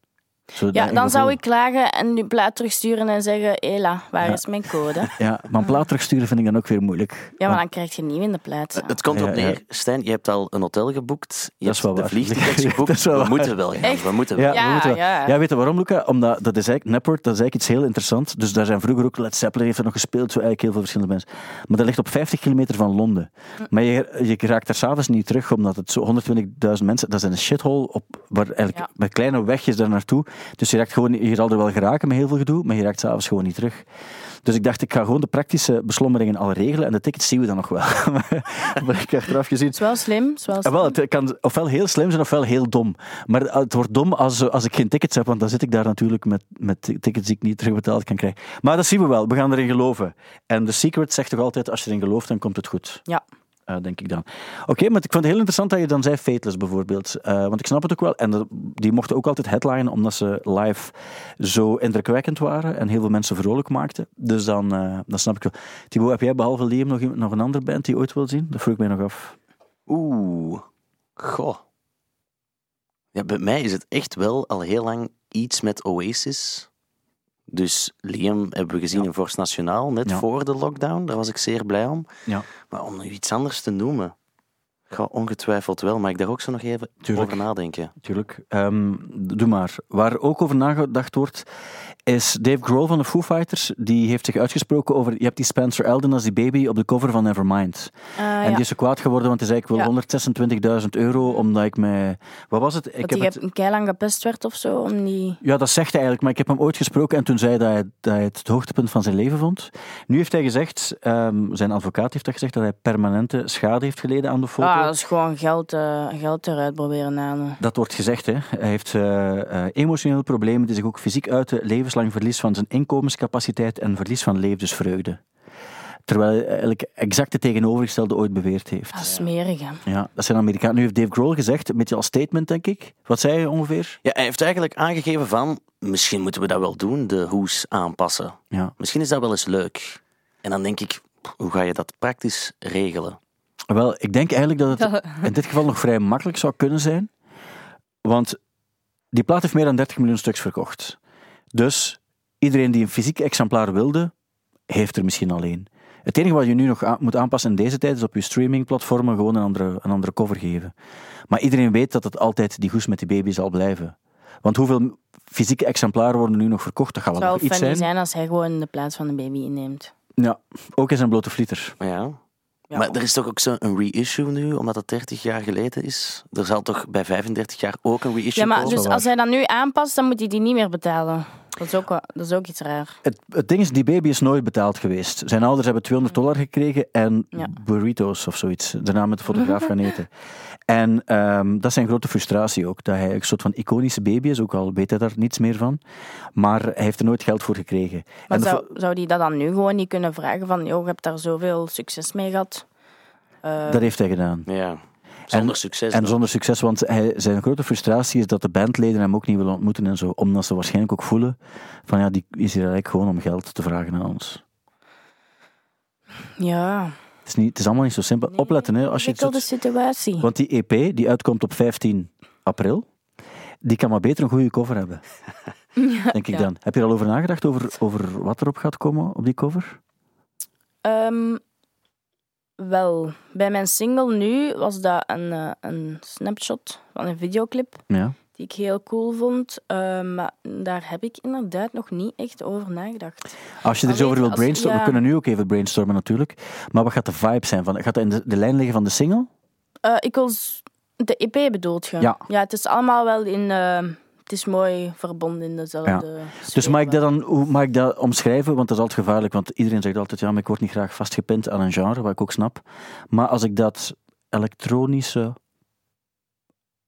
C: Zo dat
D: Ja,
C: gevoel.
D: dan zou ik klagen en die plaat terugsturen en zeggen: Ela, waar is mijn code?
C: Ja, maar een plaat terugsturen vind ik dan ook weer moeilijk.
D: Ja, maar
C: Want
D: dan krijg je nieuw in de plaat.
E: Eh, Het- Het komt erop
C: Ja, ja.
E: neer, Stijn, je hebt al een hotel geboekt. Je
C: Dat is
E: hebt
C: wel
E: de
C: waar.
E: vliegtickets
C: Dat
E: geboekt.
C: is wel
E: We
C: waar.
E: moeten wel gaan.
D: Echt?
E: We moeten wel.
C: ja,
D: Ja,
C: we moeten wel-
D: ja.
C: ja, weet je waarom, Luca? Omdat dat is eigenlijk, Naport, dat is eigenlijk iets heel interessants. Dus daar zijn vroeger ook, Led Zeppelin heeft er nog gespeeld, zo eigenlijk heel veel verschillende mensen. Maar dat ligt op 50 kilometer van Londen.
D: Mm.
C: Maar je, je raakt daar s'avonds niet terug, omdat het zo 120.000 mensen, dat is een shithole, op, waar eigenlijk
D: Ja.
C: met kleine wegjes daar naartoe. Dus je raakt gewoon, je zal er wel geraken met heel veel gedoe, maar je raakt s'avonds gewoon niet terug. Dus ik dacht, ik ga gewoon de praktische beslommeringen al regelen en de tickets zien we dan nog wel. maar ik heb achteraf gezien,
D: is wel slim. is wel
C: Ja,
D: slim.
C: Ah, wel, het kan ofwel heel slim zijn ofwel heel dom. Maar het wordt dom als, eh, als ik geen tickets heb, want dan zit ik daar natuurlijk met, met tickets die ik niet terugbetaald kan krijgen. Maar dat zien we wel, we gaan erin geloven. En The Secret zegt toch altijd, als je erin gelooft, dan komt het goed.
D: Ja.
C: Eh, denk ik dan. Oké, maar ik vond het heel interessant dat je dan zei Fateless bijvoorbeeld. Eh, want ik snap het ook wel. En dat- die mochten ook altijd headlinen omdat ze live zo indrukwekkend waren en heel veel mensen vrolijk maakten. Dus dan eh, dat snap ik wel. Thibaut, heb jij behalve Liam nog, iemand- nog een andere band die je ooit wil zien? Dat vroeg ik mij nog af.
E: Oeh. Goh. Ja, bij mij is het echt wel al heel lang iets met Oasis. Dus Liam hebben we gezien in Forst Nationaal, net
C: Ja.
E: voor de lockdown. Daar was ik zeer blij om.
C: Ja.
E: Maar om nu iets anders te noemen, ga ongetwijfeld wel. Maar ik daar ook zo nog even
C: Tuurlijk.
E: over nadenken.
C: Tuurlijk. Ehm, doe maar. Waar ook over nagedacht wordt, is Dave Grohl van de Foo Fighters. Die heeft zich uitgesproken over... Je hebt die Spencer Elden als die baby op de cover van Nevermind.
D: Eh,
C: en dus,
D: ja.
C: die is zo kwaad geworden, want hij zei, ik wil
D: Ja.
C: 126.000 euro, omdat ik mij... Wat was het? Ik
D: Dat die heb... keilang gepest werd of zo. Om die...
C: ja, dat zegt hij eigenlijk, maar ik heb hem ooit gesproken en toen zei hij dat hij, dat hij het het hoogtepunt van zijn leven vond. Nu heeft hij gezegd, ehm, zijn advocaat heeft dat gezegd, dat hij permanente schade heeft geleden aan de foto.
D: Ah, dat is gewoon geld, eh, geld eruit proberen eh, halen.
C: Dat wordt gezegd, hè. Hij heeft eh, eh, emotionele problemen die zich ook fysiek uiten, levenslang verlies van zijn inkomenscapaciteit en verlies van levensvreugde. Terwijl hij eigenlijk exact het tegenovergestelde ooit beweerd heeft.
D: Dat is smerig, hè.
C: Ja, dat zijn Amerikanen. Nu heeft Dave Grohl gezegd, een beetje als statement, denk ik. Wat zei hij ongeveer?
E: Ja, hij heeft eigenlijk aangegeven van... misschien moeten we dat wel doen, de hoes aanpassen.
C: Ja.
E: Misschien is dat wel eens leuk. En dan denk ik, pff, hoe ga je dat praktisch regelen?
C: Wel, ik denk eigenlijk dat het in dit geval nog vrij makkelijk zou kunnen zijn. Want die plaat heeft meer dan 30 miljoen stuks verkocht. Dus iedereen die een fysiek exemplaar wilde, heeft er misschien al één. Het enige wat je nu nog aan- moet aanpassen in deze tijd is op je streamingplatformen gewoon een andere, een andere cover geven. Maar iedereen weet dat het altijd die goes met die baby zal blijven. Want hoeveel fysieke exemplaren worden nu nog verkocht? Dat gaat
D: Het
C: wel
D: zou
C: nog iets
D: funny
C: zijn.
D: zijn als hij gewoon de plaats van de baby inneemt.
C: Ja, ook eens een blote flieter.
E: Ja. maar er is toch ook zo'n reissue nu, omdat het 30 jaar geleden is? Er zal toch bij 35 jaar ook een reissue
D: Ja, maar
E: komen?
D: dus
C: waar.
D: als hij dat nu aanpast, dan moet hij die niet meer betalen. Dat is ook, wel- dat is ook iets raar.
C: Het, het ding is, die baby is nooit betaald geweest. Zijn ouders hebben 200 dollar gekregen en
D: Ja.
C: burritos of zoiets. Daarna met de fotograaf gaan eten. En ehm, dat is zijn grote frustratie ook. Dat hij een soort van iconische baby is, ook al weet hij daar niets meer van. Maar hij heeft er nooit geld voor gekregen.
D: Maar
C: en de
D: zou,
C: fo-
D: zou die dat dan nu gewoon niet kunnen vragen van, joh, je hebt daar zoveel succes mee gehad? Eh,
C: dat heeft hij gedaan.
E: Ja. Zonder succes.
C: En
E: dan.
C: zonder succes, want hij, zijn grote frustratie is dat de bandleden hem ook niet willen ontmoeten en zo. Omdat ze waarschijnlijk ook voelen van ja, die is hier eigenlijk gewoon om geld te vragen aan ons.
D: ja,
C: Het is, niet, het is allemaal niet zo simpel. Eh, Opletten, hè. Als je
D: ingewikkelde
C: het-
D: situatie.
C: Want die EP, die uitkomt op 15 april, die kan maar beter een goede cover hebben. denk ik
D: ja.
C: dan. Heb je er al over nagedacht, over, over wat erop gaat komen op die cover?
D: Ehm, wel, bij mijn single nu was dat een, eh, een snapshot van een videoclip
C: Ja.
D: die ik heel cool vond. Ehm, maar daar heb ik inderdaad nog niet echt over nagedacht.
C: Als je er eens
D: Allee,
C: over wilt
D: als-
C: brainstormen,
D: ja.
C: we kunnen nu ook even brainstormen natuurlijk. Maar wat gaat de vibe zijn? Van, gaat dat in de, de lijn liggen van de single?
D: Eh, ik wil s- de EP bedoelt je?
C: Ja.
D: het is allemaal wel in. ehm, het is mooi verbonden in dezelfde.
C: Dus
D: sfeer.
C: mag ik dat dan hoe mag ik dat omschrijven? Want dat is altijd gevaarlijk, want iedereen zegt altijd, ja, maar ik word niet graag vastgepind aan een genre, wat ik ook snap. Maar als ik dat elektronische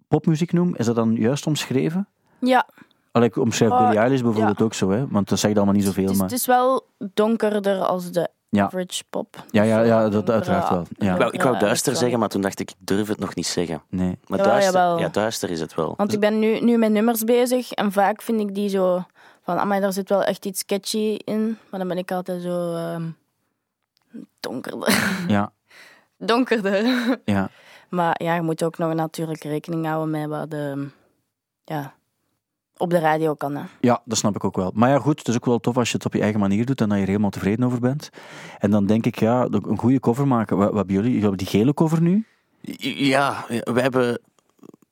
C: popmuziek noem, is dat dan juist omschreven?
D: Ja,
C: Allee, ik omschrijf
D: Oh,
C: Billie Eilish bijvoorbeeld
D: ja.
C: ook zo, hè? want dat zegt allemaal niet
D: het
C: zoveel.
D: is, het
C: Maar...
D: is wel donkerder als de
C: Ja.
D: average pop.
C: Ja, ja, ja, dat
D: donkere-
C: uiteraard wel. Ja.
E: Ik wou, ik wou
D: donkere
E: duister zeggen,
D: uitstraling.
E: maar toen dacht ik, ik durf het nog niet zeggen.
C: Nee.
E: Maar
D: Jawel,
E: duister,
D: jawel.
E: Ja, duister is het wel.
D: Want
C: Dus
D: ik ben nu, nu met nummers bezig en vaak vind ik die zo van, amai, daar zit wel echt iets catchy in. Maar dan ben ik altijd zo ehm, donkerder.
C: Ja,
D: donkerder.
C: ja.
D: maar ja, je moet ook nog natuurlijk rekening houden met wat de, ja, op de radio kan. Hè.
C: ja, dat snap ik ook wel. Maar ja, goed, het is ook wel tof als je het op je eigen manier doet en dat je er helemaal tevreden over bent. En dan denk ik, ja, een goede cover maken. Wat, wat hebben jullie? Jullie hebben die gele cover nu?
E: Ja, we hebben,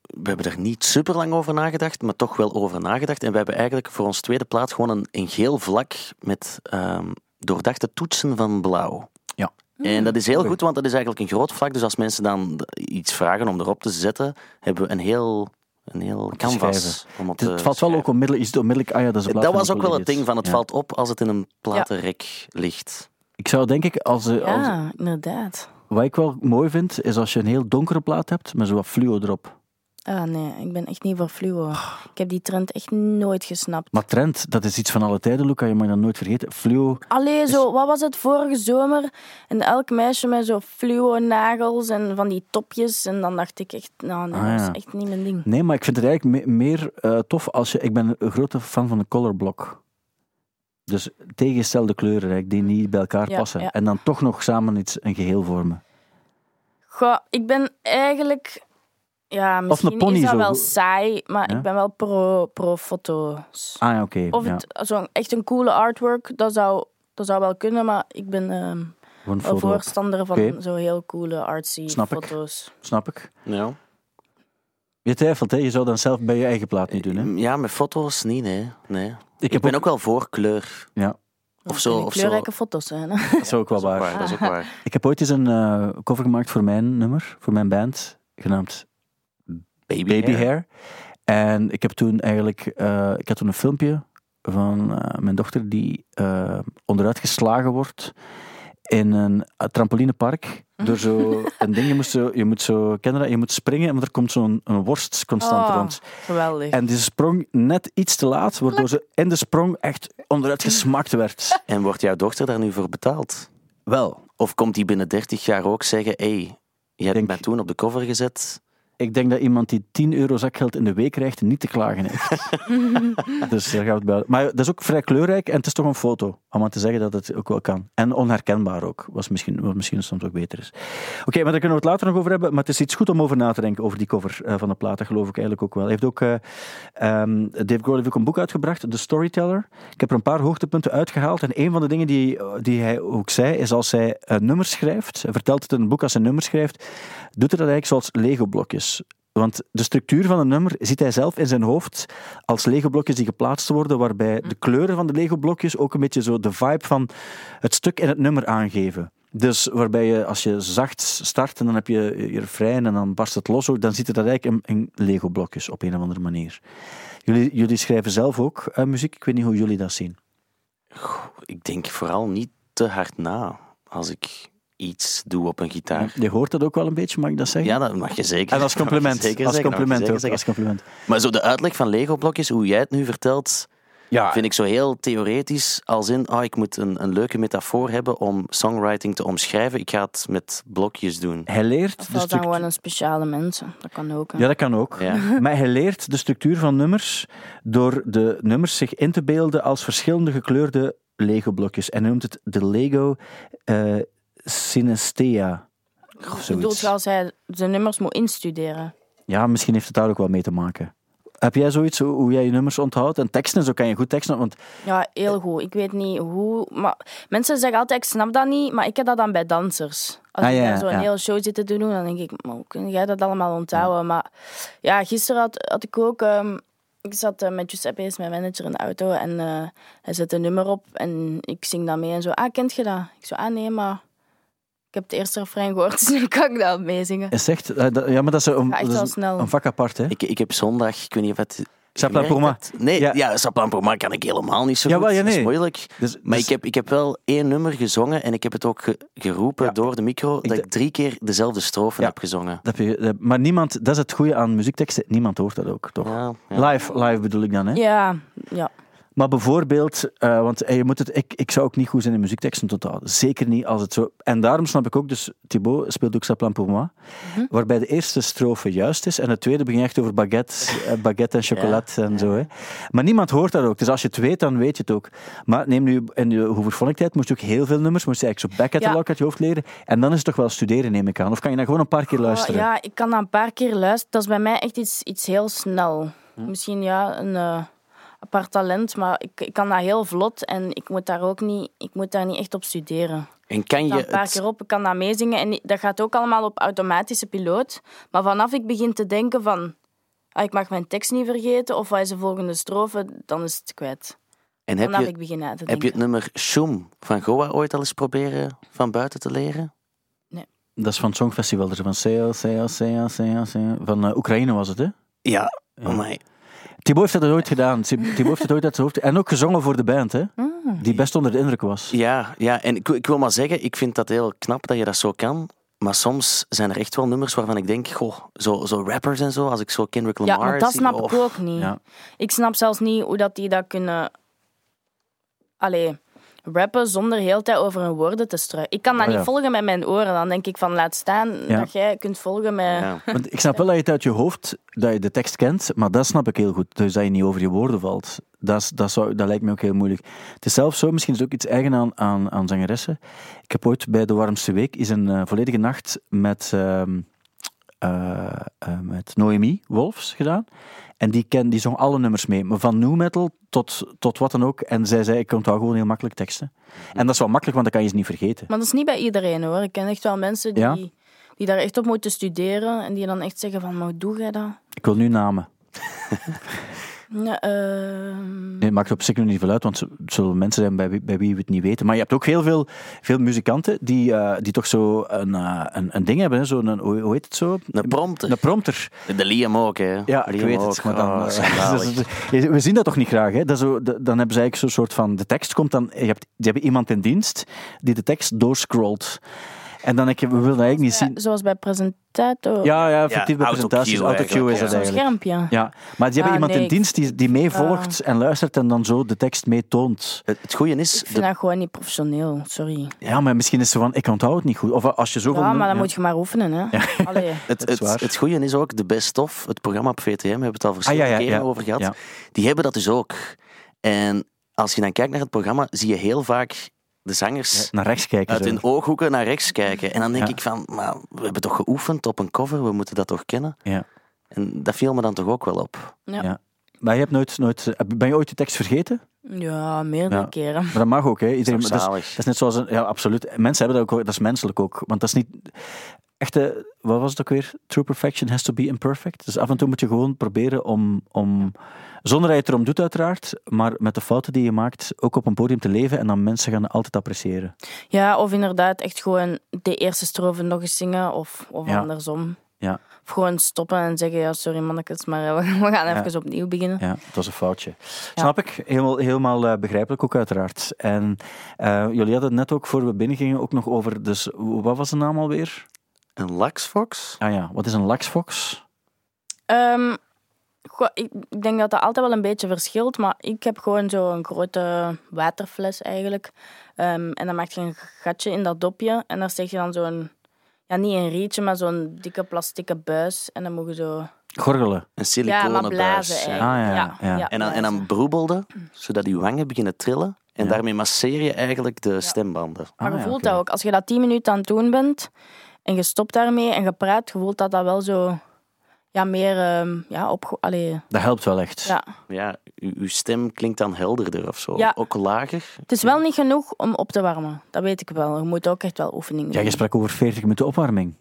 E: we hebben er niet super lang over nagedacht, maar toch wel over nagedacht. En we hebben eigenlijk voor ons tweede plaat gewoon een, een geel vlak met ehm, doordachte toetsen van blauw.
C: Ja.
E: En dat is heel
C: Oké.
E: goed, want dat is eigenlijk een groot vlak. Dus als mensen dan d- iets vragen om erop te zetten, hebben we een heel, een heel canvas.
C: schrijven.
E: Om
C: Het,
E: op te
C: valt wel
E: schrijven.
C: ook onmiddellijk, is het onmiddellijk, ah ja, dat is de plaat
E: Eh, Dat
C: van
E: was ook wel het
C: Nicole
E: ding van het
C: Idris. Ja.
E: valt op als het in een platenrek ligt.
C: Ik zou denk ik, als, eh, als,
D: Ja, Ah, inderdaad.
C: wat ik wel mooi vind, is als je een heel donkere plaat hebt, met zo wat fluo erop.
D: Ah nee, ik ben echt niet voor fluo. Ik heb die trend echt nooit gesnapt.
C: Maar trend, dat is iets van alle tijden, Luca, je mag dat nooit vergeten. Fluo,
D: Allee, zo, wat was het vorige zomer? En elk meisje met zo fluo nagels en van die topjes. En dan dacht ik echt, nou, nee,
C: Ah, ja.
D: dat is echt niet mijn ding.
C: Nee, maar ik vind het eigenlijk me- meer eh, tof als je... Ik ben een grote fan van de colorblock. Dus tegengestelde kleuren, eigenlijk, die niet bij elkaar
D: Ja,
C: passen.
D: ja.
C: En dan toch nog samen iets, een geheel vormen.
D: Goh, ik ben eigenlijk... Ja, misschien
C: pony
D: is dat
C: zo
D: wel
C: goed.
D: saai, maar
C: Ja?
D: ik ben wel pro, pro foto's.
C: Ah ja, oké.
D: Of
C: ja,
D: het, zo, echt een coole artwork, dat zou, dat zou wel kunnen, maar ik ben ehm,
C: gewoon een foto.
D: wel voorstander van
C: Oké.
D: zo heel coole artsy
C: Snap ik.
D: foto's.
C: Snap ik.
E: Ja.
C: Je twijfelt, hè? Je zou dan zelf bij je eigen plaat niet doen, hè?
E: ja, met foto's niet, nee. nee.
C: Ik
E: Ik,
C: heb
E: Eh, ben
C: ook...
E: ook wel voor kleur.
C: Ja,
E: Of
D: Dat
E: zo,
D: kunnen
E: of zo.
D: kleurrijke foto's zijn. Hè?
C: dat is ook wel
E: Dat is ook
C: waar.
E: Dat is ook waar.
C: Ik heb ooit eens een eh, cover gemaakt voor mijn nummer, voor mijn band, genaamd
E: Baby,
C: Baby
E: hair.
C: Hair. En ik heb toen eigenlijk, eh, ik had toen een filmpje van eh, mijn dochter die eh, onderuit geslagen wordt in een eh, trampolinepark. Door zo een ding, je moet zo, je moet zo ken je dat? je moet springen, maar er komt zo'n een worst constant
D: Oh,
C: rond.
D: geweldig.
C: En die sprong net iets te laat, waardoor ze in de sprong echt onderuit gesmakt werd.
E: En wordt jouw dochter daar nu voor betaald?
C: Wel,
E: Of komt die binnen 30 jaar ook zeggen: hé, hey, je hebt
C: Denk-
E: mij toen op de cover gezet.
C: Ik denk dat iemand die 10 euro zakgeld in de week krijgt, niet te klagen heeft. dus daar gaan we het bij. Maar dat is ook vrij kleurrijk en het is toch een foto. Om aan te zeggen dat het ook wel kan. En onherkenbaar ook, was misschien, wat misschien soms ook beter is. Oké, maar daar kunnen we het later nog over hebben. Maar het is iets goed om over na te denken, over die cover eh, van de plaat. Dat geloof ik eigenlijk ook wel. Hij Heeft ook, eh, ehm, Dave Grohl heeft ook een boek uitgebracht, The Storyteller. Ik heb er een paar hoogtepunten uitgehaald. En een van de dingen die, die hij ook zei, is als hij eh, nummers schrijft, hij vertelt het in een boek als hij nummers schrijft, doet hij dat eigenlijk zoals Lego-blokjes. Want de structuur van een nummer ziet hij zelf in zijn hoofd als Lego-blokjes die geplaatst worden, waarbij de kleuren van de Lego-blokjes ook een beetje zo de vibe van het stuk in het nummer aangeven. Dus waarbij je, als je zacht start en dan heb je je refrein en dan barst het los, ook, dan ziet het dat eigenlijk in, in Lego-blokjes op een of andere manier. Jullie, jullie schrijven zelf ook eh, muziek, ik weet niet hoe jullie dat zien.
E: Ik denk vooral niet te hard na als ik iets doe op een gitaar.
C: Je hoort dat ook wel een beetje, mag ik dat zeggen?
E: Ja, dat mag je zeker.
C: en als
E: dat mag je
C: compliment,
E: zeker
C: als
E: zeggen, dat mag je
C: compliment
E: zeker
C: ook,
E: zeggen.
C: als compliment.
E: Maar zo de uitleg van Lego-blokjes, hoe jij het nu vertelt,
C: Ja,
E: vind ik zo heel theoretisch. Als in, ah, ik moet een, een leuke metafoor hebben om songwriting te omschrijven. Ik ga het met blokjes doen.
C: hij leert
D: Of
C: de
D: wel dan
C: structuur...
D: gewoon een speciale mensen. Dat kan ook. hè.
C: Ja, dat kan ook.
E: Ja.
C: Maar hij leert de structuur van nummers door de nummers zich in te beelden als verschillende gekleurde Lego-blokjes. En hij noemt het de Lego eh Synesthea. Of
D: ik bedoel,
C: zoiets.
D: zoals hij de nummers moet instuderen.
C: Ja, misschien heeft het daar ook wel mee te maken. Heb jij zoiets, hoe- hoe jij je nummers onthoudt? En teksten, zo kan je goed teksten, want
D: Ja, heel
C: Eh.
D: goed. Ik weet niet hoe. Maar mensen zeggen altijd: ik snap dat niet, maar ik heb dat dan bij dansers. Als
C: Ah,
D: ik
C: ja,
D: daar zo'n
C: ja.
D: hele show zit te doen, dan denk ik: maar hoe kun jij dat allemaal onthouden? Maar ja, gisteren had, had ik ook. ehm, ik zat eh, met Giuseppe, is mijn manager, in de auto en eh, hij zet een nummer op en ik zing dat mee en zo. Ah, kent je dat? Ik zo, ah nee, maar ik heb het eerste refrein gehoord, dus nu kan ik dat meezingen.
C: hij zegt... eh, dat- Ja, maar dat is een,
D: Ja,
C: dat
D: echt oh.
C: is
D: wel
C: een-
D: snel.
C: een vak apart, hè?
E: Ik, ik heb zondag, ik weet niet of het...
C: Saplan
E: gemerkt
C: Poma.
E: hebt. Nee,
C: Ja.
E: ja, Saplan Poma kan ik helemaal niet zo
C: Jawel,
E: goed.
C: ja,
E: Dat
C: nee.
E: is moeilijk.
C: Dus,
E: Maar
C: dus-
E: ik heb, ik heb wel één nummer gezongen en ik heb het ook ge- geroepen door de micro, dat
C: d-
E: ik drie keer dezelfde strofe
C: Ja.
E: heb gezongen.
C: dat heb je, dat- maar niemand, dat is het goede aan muziekteksten, niemand hoort dat ook, toch?
E: Ja, ja.
C: Live, live bedoel ik dan, hè?
D: Ja, ja.
C: Maar bijvoorbeeld, eh, want eh, je moet het, ik, ik zou ook niet goed zijn in muziekteksten totaal. Zeker niet als het zo. En daarom snap ik ook, dus Thibaut speelt ook Saplan pour moi,
D: Mhm.
C: waarbij de eerste strofe juist is en de tweede begint echt over baguette, eh, baguette en chocolat en zo. Hè. Maar niemand hoort dat ook. Dus als je het weet, dan weet je het ook. Maar neem nu, in je hoevervonnigheidstijd moest je ook heel veel nummers, moest je eigenlijk zo back at the
D: Ja.
C: lock uit je hoofd leren. En dan is het toch wel studeren, neem ik aan. Of kan je dan gewoon een paar keer luisteren?
D: Oh, ja, ik kan dat een paar keer luisteren. Dat is bij mij echt iets, iets heel snel.
E: Hm.
D: Misschien ja, een eh, apart talent, maar ik, ik kan dat heel vlot en ik moet daar ook niet, ik moet daar niet echt op studeren.
E: En kan
D: Ik
E: je
D: kan een paar
E: het...
D: keer op, ik kan dat meezingen en dat gaat ook allemaal op automatische piloot. Maar vanaf ik begin te denken van, ah, ik mag mijn tekst niet vergeten of wat is de volgende strofe, dan is het kwijt.
E: En heb
D: Vanaf
E: je,
D: ik begin na te
E: heb je
D: denken.
E: het nummer Shoom van Goa ooit al eens proberen van buiten te leren?
C: Dat is van het Songfestival, dus van Seo, Seo, Seo, Seo, Seo. Van eh, Oekraïne was het, hè?
E: Ja, amai.
C: Thibaut heeft dat ooit gedaan. Thib- Thibaut heeft dat ooit uit zijn hoofd. En ook gezongen voor de band, hè? Die best onder de indruk was.
E: Ja, ja, en ik, ik wil maar zeggen, ik vind dat heel knap dat je dat zo kan. Maar soms zijn er echt wel nummers waarvan ik denk, goh, zo, zo rappers en zo, als ik zo Kendrick
D: Ja,
E: Lamar
D: maar dat
E: zie, oh,
D: snap
E: of-
D: ik ook niet.
C: Ja.
D: Ik snap zelfs niet hoe dat die dat kunnen... Allee, rappen zonder heel de tijd over hun woorden te struiken. Ik kan dat
C: Oh, ja.
D: niet volgen met mijn oren. Dan denk ik van, laat staan
C: Ja.
D: dat jij kunt volgen met...
E: Ja.
C: Want ik snap wel dat je het uit je hoofd, dat je de tekst kent, maar dat snap ik heel goed. Dus dat je niet over je woorden valt. Dat, is- dat, zou, dat lijkt me ook heel moeilijk. Het is zelfs zo, misschien is het ook iets eigen aan, aan, aan zangeressen. Ik heb ooit bij De Warmste Week is een eh, volledige nacht met, ehm eh, eh, met Noemi Wolfs gedaan. En die, ken, die zong alle nummers mee, maar van new metal tot, tot wat dan ook. En zij zei, ik onthoud gewoon heel makkelijk teksten. En dat is wel makkelijk, want dan kan je ze niet vergeten.
D: Maar dat is niet bij iedereen hoor. Ik ken echt wel mensen die,
C: Ja.
D: die daar echt op moeten studeren. En die dan echt zeggen van, maar hoe doe jij dat?
C: Ik wil nu namen.
D: Ja, ehm,
C: Nee, het maakt op zich nog niet veel uit, want het zullen mensen zijn bij, wie- bij wie we het niet weten. Maar je hebt ook heel veel, veel muzikanten die, eh, die toch zo een, eh, een, een ding hebben. hè, Zo'n, een- hoe hoe heet het zo?
E: Een prompter.
C: Een prompter.
E: De Liam ook, hè?
C: Ja, ik
E: Liam
C: weet
E: ook.
C: het. Maar dan,
E: Oh,
C: eh,
E: schandalig.
C: we zien dat toch niet graag, hè? Dat is zo, de- dan hebben ze eigenlijk zo'n soort van... De tekst komt dan... Je hebt, die hebben iemand in dienst die de tekst doorscrollt. En dan, ik,
D: Oh,
C: we wilden eigenlijk niet
D: Ja,
C: zien...
D: zoals bij presentator.
C: Ja, ja, effectief bij
E: autocue
C: presentaties. Autocue is dat
E: eigenlijk, ja.
D: Zo'n
C: eigenlijk.
D: schermpje.
C: Ja, maar die hebben
D: Ah,
C: iemand
D: nee,
C: in
D: ik- Ah.
C: dienst die, die meevolgt en luistert en dan zo de tekst meetoont.
E: Het, het goede is,
D: Ik vind dat gewoon niet professioneel, sorry.
C: Ja, maar misschien is ze van, ik onthoud het niet goed. Of als je zoveel...
D: Ja, maar
C: ja.
D: dan moet je maar oefenen, hè. Allee.
E: Het,
C: is waar.
E: het, het goede is ook, de best of, het programma op VTM, we hebben het al verschillende
C: Ah, ja, ja,
E: keren
C: ja.
E: over gehad,
C: Ja.
E: die hebben dat dus ook. En als je dan kijkt naar het programma, zie je heel vaak de zangers
C: Naar rechts kijken.
E: uit
C: zo.
E: hun ooghoeken naar rechts kijken. En dan denk
C: Ja.
E: ik van, maar we hebben toch geoefend op een cover, we moeten dat toch kennen?
C: Ja.
E: En dat viel me dan toch ook wel op.
D: Ja.
C: Ja. Maar je hebt nooit, nooit... eh, Ben je ooit de tekst vergeten?
D: Ja, meerdere
C: Ja.
D: keren.
C: Maar dat mag ook, hè? Iedereen,
E: toch
C: dat, is,
E: zalig?
C: dat is net zoals een, ja, absoluut. Mensen hebben dat ook, hoor. dat is menselijk ook. Want dat is niet echt, eh, wat was het ook weer? True perfection has to be imperfect. Dus af en toe moet je gewoon proberen om, om zonder dat je het erom doet, uiteraard, maar met de fouten die je maakt, ook op een podium te leven en dan mensen gaan het altijd appreciëren.
D: Ja, of inderdaad echt gewoon de eerste strofe nog eens zingen of, of
C: Ja.
D: andersom.
C: Ja,
D: Of gewoon stoppen en zeggen, ja, sorry mannetjes, maar we we gaan even opnieuw beginnen.
C: ja het was een foutje. Snap ik? Helemaal, helemaal eh, begrijpelijk ook, uiteraard. En eh, jullie hadden het net ook, voor we binnengingen, ook nog over, dus wat was de naam alweer?
E: Een laxfox?
C: Ah ja, wat is een laxfox?
D: Ehm, goh, ik ik denk dat dat altijd wel een beetje verschilt, maar ik heb gewoon zo'n grote waterfles eigenlijk. Ehm, en dan maak je een gatje in dat dopje en daar steek je dan zo'n, ja niet een rietje, maar zo'n dikke plastieke buis. En dan mogen zo...
C: Gorgelen.
E: Een
D: Ja,
E: siliconen
D: maar blazen
E: buis. ja.
D: eigenlijk.
C: Ah, ja, ja.
E: En dan, en dan broebelde, zodat die wangen beginnen trillen. En daarmee masseer je eigenlijk de stembanden.
D: Maar
C: Ah,
D: je
C: ja,
D: voelt
C: oké.
D: dat ook. Als je dat tien minuten aan het doen bent en je stopt daarmee en je praat, je voelt dat dat wel zo ja, meer ehm, ja, op. Allee,
C: Dat helpt wel echt.
D: ja.
E: Ja, u- uw stem klinkt dan helderder of zo.
D: Ja.
E: Ook lager.
D: Het is wel niet genoeg om op te warmen. Dat weet ik wel. Je moet ook echt wel oefening doen.
C: Ja, je sprak over 40 minuten opwarming.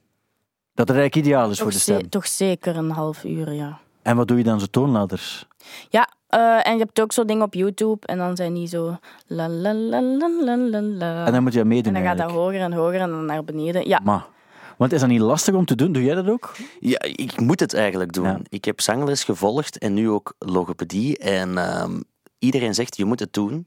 C: Dat het eigenlijk ideaal is
D: toch,
C: dus voor de
D: ze-
C: stem.
D: toch zeker een half uur, ja.
C: En wat doe je dan zo toonladders?
D: Ja, eh, en je hebt ook zo dingen op YouTube en dan zijn die zo. La, la, la, la, la, la, la.
C: En dan moet je dat meedoen
D: En dan gaat dat
C: eigenlijk.
D: hoger en hoger en dan naar beneden. Ja,
C: Maar, want is dat niet lastig om te doen? Doe jij dat ook?
E: Ja, ik moet het eigenlijk doen.
C: Ja.
E: Ik heb zangles gevolgd en nu ook logopedie. En ehm, iedereen zegt, je moet het doen.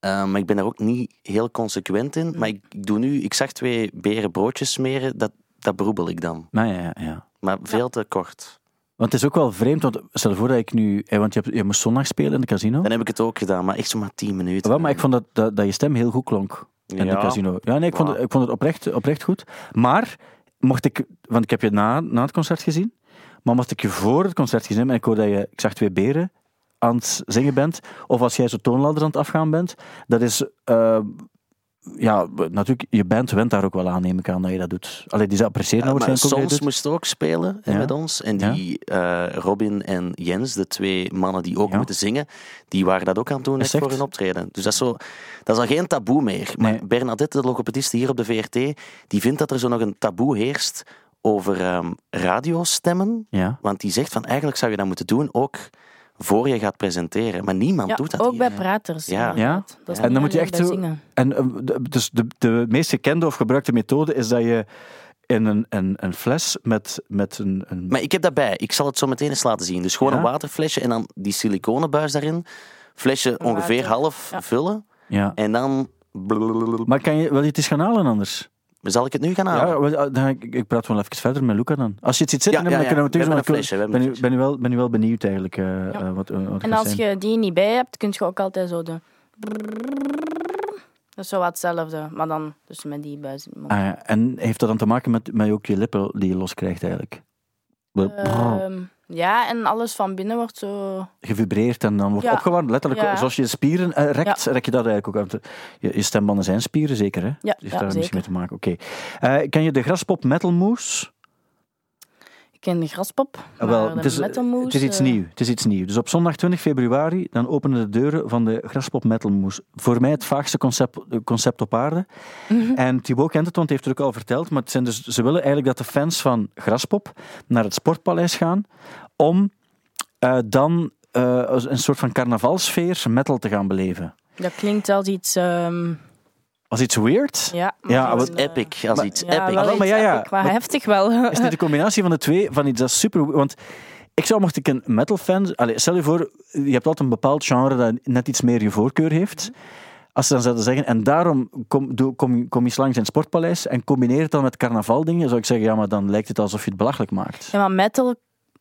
E: Ehm, maar ik ben daar ook niet heel consequent in. Maar ik, ik doe nu, ik zag twee beren broodjes smeren, dat, dat beroebel ik dan.
C: Nou ja, ja, ja.
E: Maar veel te kort.
C: Want het is ook wel vreemd, want stel je voor dat ik nu... eh, Want je, hebt, je moest zondag spelen in de casino.
E: Dan heb ik het ook gedaan, maar echt zo maar tien minuten.
C: Wel, maar ik vond dat, dat, dat je stem heel goed klonk in de
E: Ja.
C: casino. Ja, nee, ik vond, het- ik vond het oprecht, oprecht goed. Maar, mocht ik... Want ik heb je na, na het concert gezien. Maar mocht ik je voor het concert gezien hebben en ik hoorde dat je... Ik zag twee beren aan het zingen bent. Of als jij zo toonladder aan het afgaan bent. Dat is... eh, ja, natuurlijk, je band went daar ook wel aan, neem ik aan, dat je dat doet. Alleen die ze appreciëren
E: Ja,
C: nou
E: Eh, maar
C: waarschijnlijk ook dat
E: soms
C: je
E: moest ook spelen hè,
C: Ja.
E: met ons. En
C: Ja.
E: die eh, Robin en Jens, de twee mannen die ook
C: Ja.
E: moeten zingen, die waren dat ook aan het doen net
C: Exact.
E: voor hun optreden. Dus dat is, zo, dat is al geen taboe meer. Maar
C: Nee.
E: Bernadette, de logopediste hier op de VRT, die vindt dat er zo nog een taboe heerst over ehm, radiostemmen.
C: doet. Ja.
E: Want die zegt van eigenlijk zou je dat moeten doen ook voor je gaat presenteren. Maar niemand
D: ja
E: doet dat
D: ook
E: hier.
D: bij praters.
E: Ja.
C: Ja?
D: inderdaad. Dat is
C: En
D: niet
C: dan moet je
D: alleen
C: echt
D: bij
C: zo...
D: zingen.
C: En eh, de- dus de, de meest gekende of gebruikte methode is dat je in een, een, een fles met, met een... een
E: Maar ik heb dat bij. Ik zal het zo meteen eens laten zien. Dus gewoon
C: Ja?
E: een waterflesje en dan die siliconenbuis daarin. Flesje ongeveer
D: water.
E: half
D: Ja.
E: vullen.
C: ja.
E: En dan.
C: Maar kan je, wil je het eens gaan halen anders?
E: Zal ik het nu gaan halen?
C: Ja, wel, ah, dan, ik, ik praat wel even verder met Luca dan. Als je het ziet zitten,
E: Ja,
C: dan
E: ja,
C: kunnen we
E: ja.
C: terug
E: We hebben
C: want ik wil-
E: een flesje, we hebben
C: ben,
E: een
C: u- ben, u wel, ben u wel benieuwd eigenlijk eh, eh, wat, eh, wat
D: En
C: gaat
D: als
C: zijn.
D: je die niet bij hebt, kun je ook altijd zo doen. Dat is zo wat hetzelfde, maar dan dus met die buis. in je mond.
C: Ah, ja. En heeft dat dan te maken met, met ook je lippen die je loskrijgt eigenlijk? Brrr.
D: Ehm, ja, en alles van binnen wordt zo...
C: Gevibreerd en dan wordt
D: ja.
C: opgewarmd. Letterlijk,
D: Ja.
C: zoals je je spieren eh, rekt, rek je dat eigenlijk ook uit. Je, je stembanden zijn spieren, zeker hè?
D: Ja,
C: heeft
D: ja,
C: daar
D: zeker.
C: misschien mee te maken. Oké. Eh, ken je de graspop Metal Moose?
D: Ik ken de graspop, maar
C: Ah, wel,
D: de
C: het, is,
D: metal moose,
C: het is iets
D: eh,
C: nieuws. Het is iets nieuws. Dus op zondag 20 februari dan openen de deuren van de Graspop Metal Moose. Voor mij het vaagste concept, eh, concept op aarde. En Thibaut kent het, want hij heeft het ook al verteld. Maar het zijn dus, ze willen eigenlijk dat de fans van Graspop naar het Sportpaleis gaan om eh, dan eh, een soort van carnavalsfeer metal te gaan beleven.
D: Dat klinkt als iets... ehm,
C: Was iets weird?
D: ja,
C: Ja,
D: maar
C: wat
D: zo'n, eh,
E: Epic, als iets
D: ja,
E: epic.
D: Wel
C: Ah, wel, maar ja,
D: iets
C: ja.
D: epic, maar
C: Maar-
D: heftig wel.
C: Is dit de combinatie van de twee, van iets dat super... Want ik zou, mocht ik een metal fan... Allee, stel je voor, je hebt altijd een bepaald genre dat net iets meer je voorkeur heeft. Als ze dan zouden zeggen, en daarom kom, doe- kom, kom eens langs in het sportpaleis en combineer het dan met carnavaldingen, zou ik zeggen, ja, maar dan lijkt het alsof je het belachelijk maakt.
D: Ja, maar metal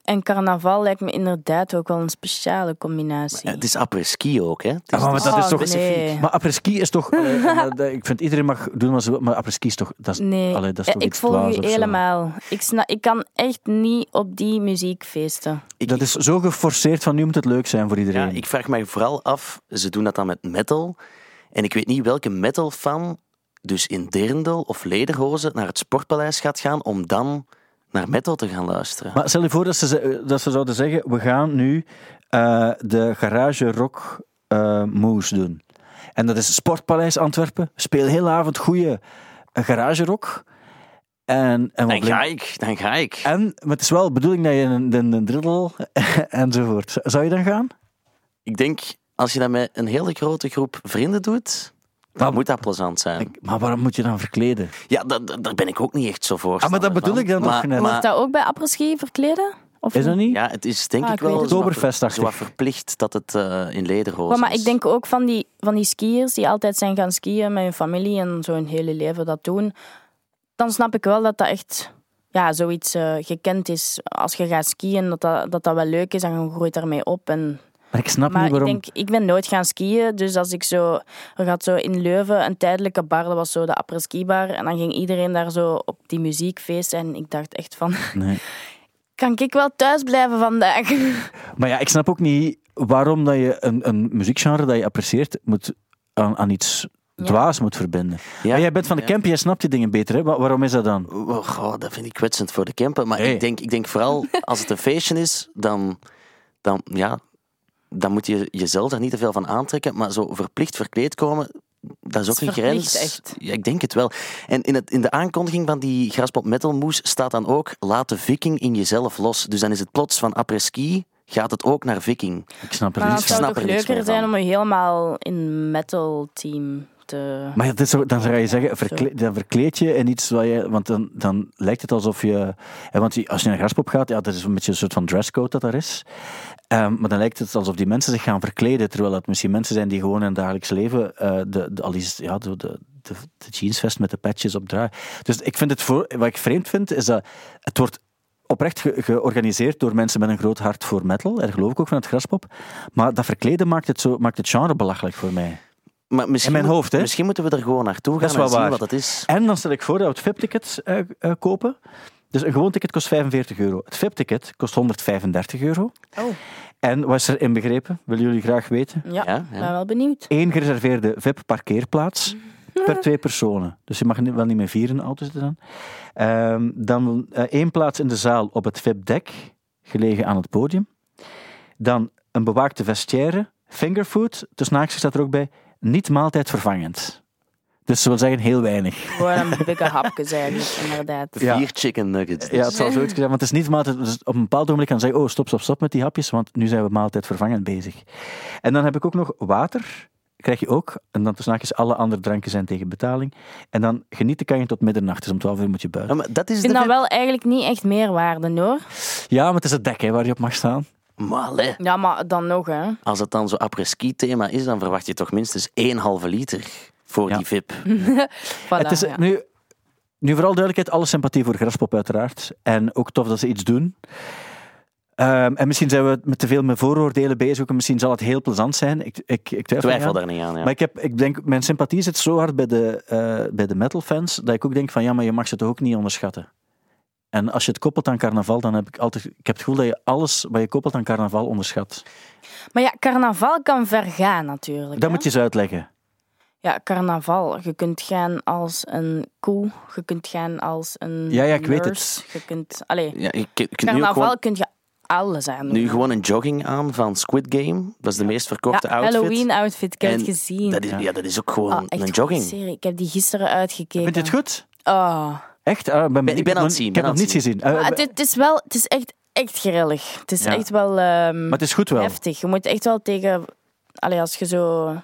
D: en carnaval lijkt me inderdaad ook wel een speciale combinatie.
E: Ja,
C: eh,
E: het is apres-ski ook, hè? Het is-
C: Ah, maar dat is
D: Oh,
C: toch...
D: nee.
C: Maar apres-ski is toch... allee, maar dat- ik vind iedereen mag doen wat ze wil, maar apres-ski is toch... Dat is,
D: Nee,
C: allee, dat is
D: Ja,
C: toch
D: ik
C: iets
D: volg
C: dwaas
D: je
C: of zo.
D: helemaal. Ik, sna- ik kan echt niet op die muziekfeesten.
C: Dat is zo geforceerd van nu moet het leuk zijn voor iedereen.
E: Ja, ik vraag mij vooral af, ze doen dat dan met metal. En ik weet niet welke metal-fan dus in Derendel of Lederhozen naar het Sportpaleis gaat gaan om dan naar metal te gaan luisteren.
C: Maar stel je voor dat ze, ze- dat ze zouden zeggen: we gaan nu eh, de garage rock eh moves doen. En dat is Sportpaleis Antwerpen. Speel heel avond goede eh, garage rock. En, en, wat
E: dan ga
C: blink-
E: ik, dan ga ik.
C: en maar het is wel de bedoeling dat je een, een, een driddel enzovoort. Z- Zou je dan gaan?
E: Ik denk, als je dat met een hele grote groep vrienden doet, dan
C: Ah, Maar-
E: moet dat plezant zijn.
C: Maar waarom moet je dan verkleden?
E: Ja, da- da- daar ben ik ook niet echt zo voor.
C: Ah, maar dat bedoel ik dan toch net.
D: Wordt dat ook bij apres-ski verkleden? Of
C: Is dat niet?
E: Ja, het is denk
D: Ah,
E: ik
D: ik weet
E: wel
D: het
E: zo wat-
C: Oktoberfestachtig.
E: zo wat verplicht dat het eh, in Lederhozen
D: Maar, maar
E: is.
D: ik denk ook van die, van die skiers die altijd zijn gaan skiën met hun familie en zo hun hele leven dat doen. Dan snap ik wel dat dat echt ja, zoiets eh, gekend is. Als je gaat skiën, dat dat, dat dat wel leuk is en je groeit daarmee op. En,
C: Maar ik snap
D: maar
C: niet waarom.
D: ik denk, ik ben nooit gaan skiën. Dus als ik zo, er gaat zo in Leuven een tijdelijke bar, dat was zo de apres-ski bar. En dan ging iedereen daar zo op die muziekfeest. En ik dacht echt van,
C: Nee.
D: kan ik wel thuis blijven vandaag?
C: Maar ja, ik snap ook niet waarom dat je een, een muziekgenre dat je apprecieert moet aan, aan iets dwaas moet verbinden.
E: Ja.
C: Maar jij bent van de camp, jij snapt die dingen beter. Hè? Wa- Waarom is dat dan?
E: Oh, goh, dat vind ik kwetsend voor de camper. Maar
C: Nee.
E: ik, denk, ik denk vooral, als het een feestje is, dan, dan, ja, dan moet je jezelf daar niet te veel van aantrekken. Maar zo verplicht verkleed komen, dat is ook
D: is
E: een
D: verplicht,
E: grens.
D: echt.
E: Ja, ik denk het wel. En in, het, in de aankondiging van die Graspop Metal Moes staat dan ook, laat de viking in jezelf los. Dus dan is het plots van après-ski, gaat het ook naar viking.
C: Ik snap er
D: Maar
C: niets
D: het
C: van.
D: zou
E: snap
D: toch
E: er niks meer
D: leuker
E: van.
D: zijn om je helemaal in metal team te...
C: Maar het is zo- dan zou je zeggen, verkle- dan verkleed je en iets wat je... Want dan, dan lijkt het alsof je... hè, Want die- als je naar Graspop gaat, ja, dat is een beetje een soort van dresscode dat daar is. Ehm, maar dan lijkt het alsof die mensen zich gaan verkleden, terwijl het misschien mensen zijn die gewoon in het dagelijks leven eh, de, de, al is, ja, de, de, de, de jeansvest met de patches op dragen. Dus ik vind het voor, wat ik vreemd vind, is dat het wordt oprecht ge- georganiseerd door mensen met een groot hart voor metal. Daar geloof ik ook van het Graspop. Maar dat verkleden maakt het, zo, maakt het genre belachelijk voor mij.
E: Maar misschien,
C: mijn
E: moet-
C: hoofd, hè?
E: misschien moeten we er gewoon naartoe gaan
C: Dat is
E: en
C: wel
E: zien
C: waar.
E: wat dat is.
C: En dan stel ik voor dat we het VIP-ticket eh, eh, kopen. Dus een gewoon ticket kost 45 euro. Het VIP-ticket kost 135 euro.
D: Oh.
C: En wat is er inbegrepen? Willen jullie graag weten?
D: Ja,
E: Ja,
D: ik
E: ja.
D: ben wel benieuwd.
C: Eén gereserveerde VIP-parkeerplaats per twee personen. Dus je mag niet- wel niet met vier in de auto zitten dan. Ehm, dan eh, één plaats in de zaal op het VIP-dek, gelegen aan het podium. Dan een bewaakte vestiaire, fingerfood, tussen haakjes staat er ook bij, niet maaltijdvervangend. Dus ze wil zeggen heel weinig.
D: Gewoon een dikke hapjes eigenlijk, inderdaad.
C: Ja.
E: Vier chicken nuggets. dus.
C: Ja, het zal zoiets zijn, want het is niet maaltijd. Dus op een bepaald ogenblik kan je zeggen: oh, stop, stop, stop met die hapjes, want nu zijn we maaltijd vervangend bezig. En dan heb ik ook nog water. Krijg je ook. En dan tussen haakjes, alle andere drankjes zijn tegen betaling. En dan genieten kan je tot middernacht. Dus om 12 uur moet je
E: Ja,
C: buiten.
E: maar dat is
D: Ik vind
E: de
D: dat wel eigenlijk niet echt meerwaarde, hoor.
C: Ja, maar het is het dek hè, waar je op mag staan.
E: Maar allee.
D: Ja, maar dan nog, hè.
E: Als het dan zo'n après-ski thema is, dan verwacht je toch minstens één halve liter voor
C: Ja.
E: die VIP.
D: Voilà,
C: het is
D: ja.
C: nu, nu vooral duidelijkheid: alle sympathie voor Graspop, uiteraard. En ook tof dat ze iets doen. Ehm, en misschien zijn we met te veel met vooroordelen bezig. En misschien zal het heel plezant zijn. Ik, ik, ik twijfel,
E: Twijfel
C: eraan.
E: daar niet aan. Ja.
C: Maar ik, heb, ik denk, mijn sympathie zit zo hard bij de, eh, bij de metalfans, dat ik ook denk van ja, maar je mag ze toch ook niet onderschatten. En als je het koppelt aan carnaval, dan heb ik altijd... Ik heb het gevoel dat je alles wat je koppelt aan carnaval onderschat.
D: Maar ja, carnaval kan ver gaan, natuurlijk.
C: Dat
D: hè.
C: moet je eens uitleggen.
D: Ja, carnaval. Je kunt gaan als een koe. Je kunt gaan als een
C: Ja, ja, ik weet het.
D: nurse. Je kunt... Allee,
E: ja, je kunt- je kunt nu, ook
D: carnaval
E: gewoon,
D: kun je alles aan doen.
E: nu gewoon een jogging aan van Squid Game. Dat is de meest
D: ja,
E: verkochte outfit.
D: Halloween-outfit, ik heb
E: En
D: het gezien.
E: Dat is, ja. dat is ook gewoon
D: Ah, echt
E: een
D: goede
E: jogging.
D: serie. Ik heb die gisteren uitgekeken.
C: Vind je het goed?
D: Oh.
C: Echt? Ah,
E: ben
C: benieuwd.
E: aan het zien,
C: Ik
E: ben
C: heb
E: aan
C: nog niets
E: het
C: gezien. Eh,
D: Maar het, het is wel, het is echt, echt grillig. Het is
C: Ja.
D: echt wel, ehm,
C: maar het is goed wel.
D: heftig. Je moet echt wel tegen, allee, als je zo,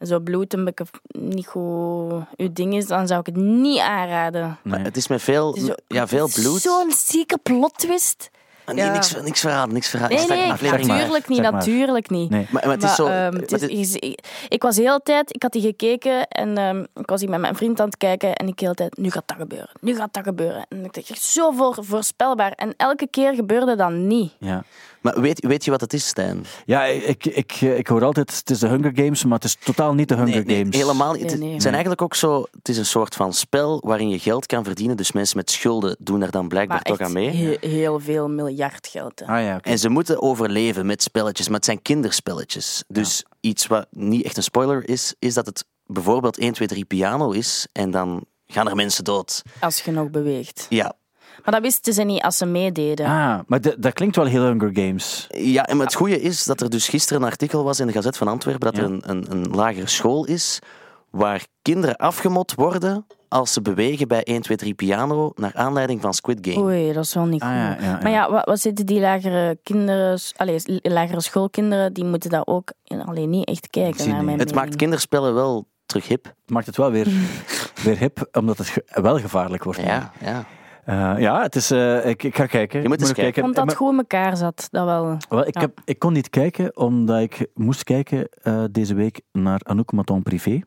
D: zo bloed een beetje niet goed je ding is, dan zou ik het niet aanraden.
E: Maar het is met veel,
D: Het is zo-
E: ja, veel
D: het is
E: bloed. Ah,
D: Zo'n zieke plot twist.
E: Nee,
D: Ja.
E: niks, niks verraden, niks verraden.
D: Nee,
E: Is dat
D: nee,
E: een aflevering?
C: maar.
D: natuurlijk niet,
C: Zeg maar.
D: natuurlijk niet.
C: Nee.
E: Maar, maar het is
D: Maar,
E: zo...
D: ehm,
E: maar
D: het
E: het
D: is-
E: is-
D: je- ik, ik was heel de tijd, ik had die gekeken en ehm, ik was hier met mijn vriend aan het kijken en ik heel de tijd, nu gaat dat gebeuren, nu gaat dat gebeuren. En ik dacht, echt zo voor, voorspelbaar. En elke keer gebeurde dat niet.
C: Ja,
E: maar weet, weet je wat het is, Stijn?
C: ja ik, ik, ik hoor altijd, het is de Hunger Games, maar het is totaal niet de Hunger
E: Nee, nee,
C: Games.
E: helemaal niet.
D: Nee,
E: Het
D: nee.
E: zijn eigenlijk ook zo... Het is een soort van spel waarin je geld kan verdienen. Dus mensen met schulden doen er dan blijkbaar
D: Maar
E: toch
D: echt
E: aan mee.
D: he- heel veel miljard geld. hè.
C: Ah ja, oké.
E: En ze moeten overleven met spelletjes, maar het zijn kinderspelletjes. Dus iets wat niet echt een spoiler is, is dat het bijvoorbeeld 1, 2, 3 piano is en dan gaan er mensen dood.
D: Als je nog beweegt.
E: Ja,
D: Maar dat wisten ze niet als ze meededen.
C: Ah, maar dat- dat klinkt wel heel Hunger Games.
E: ja en het goede is dat er dus gisteren een artikel was in de Gazet van Antwerpen dat
C: Ja.
E: er een, een, een lagere school is waar kinderen afgemot worden als ze bewegen bij 1, 2, 3 piano naar aanleiding van Squid Game.
D: Oei, dat is wel niet
C: Ah,
D: goed.
C: ja, ja, ja.
D: Maar ja, wat, wat zitten die lagere kinderen, allee, lagere schoolkinderen, die moeten dat ook alleen niet echt kijken
C: Zien
D: naar
C: niet.
D: mijn
E: Het maakt
D: mening.
E: kinderspellen wel terug hip.
C: maakt het wel weer, weer hip, omdat het ge- wel gevaarlijk wordt.
E: Ja, ja.
C: Eh, ja het is, eh, ik, ik ga kijken.
E: Je moet
C: Ik
E: eens
C: nog
E: kijken.
D: Omdat het
C: Maar-
D: goed in elkaar zat, dat wel.
C: wel, ik,
D: ja.
C: heb, ik kon niet kijken, omdat ik moest kijken eh, deze week naar Anouk Maton Privé.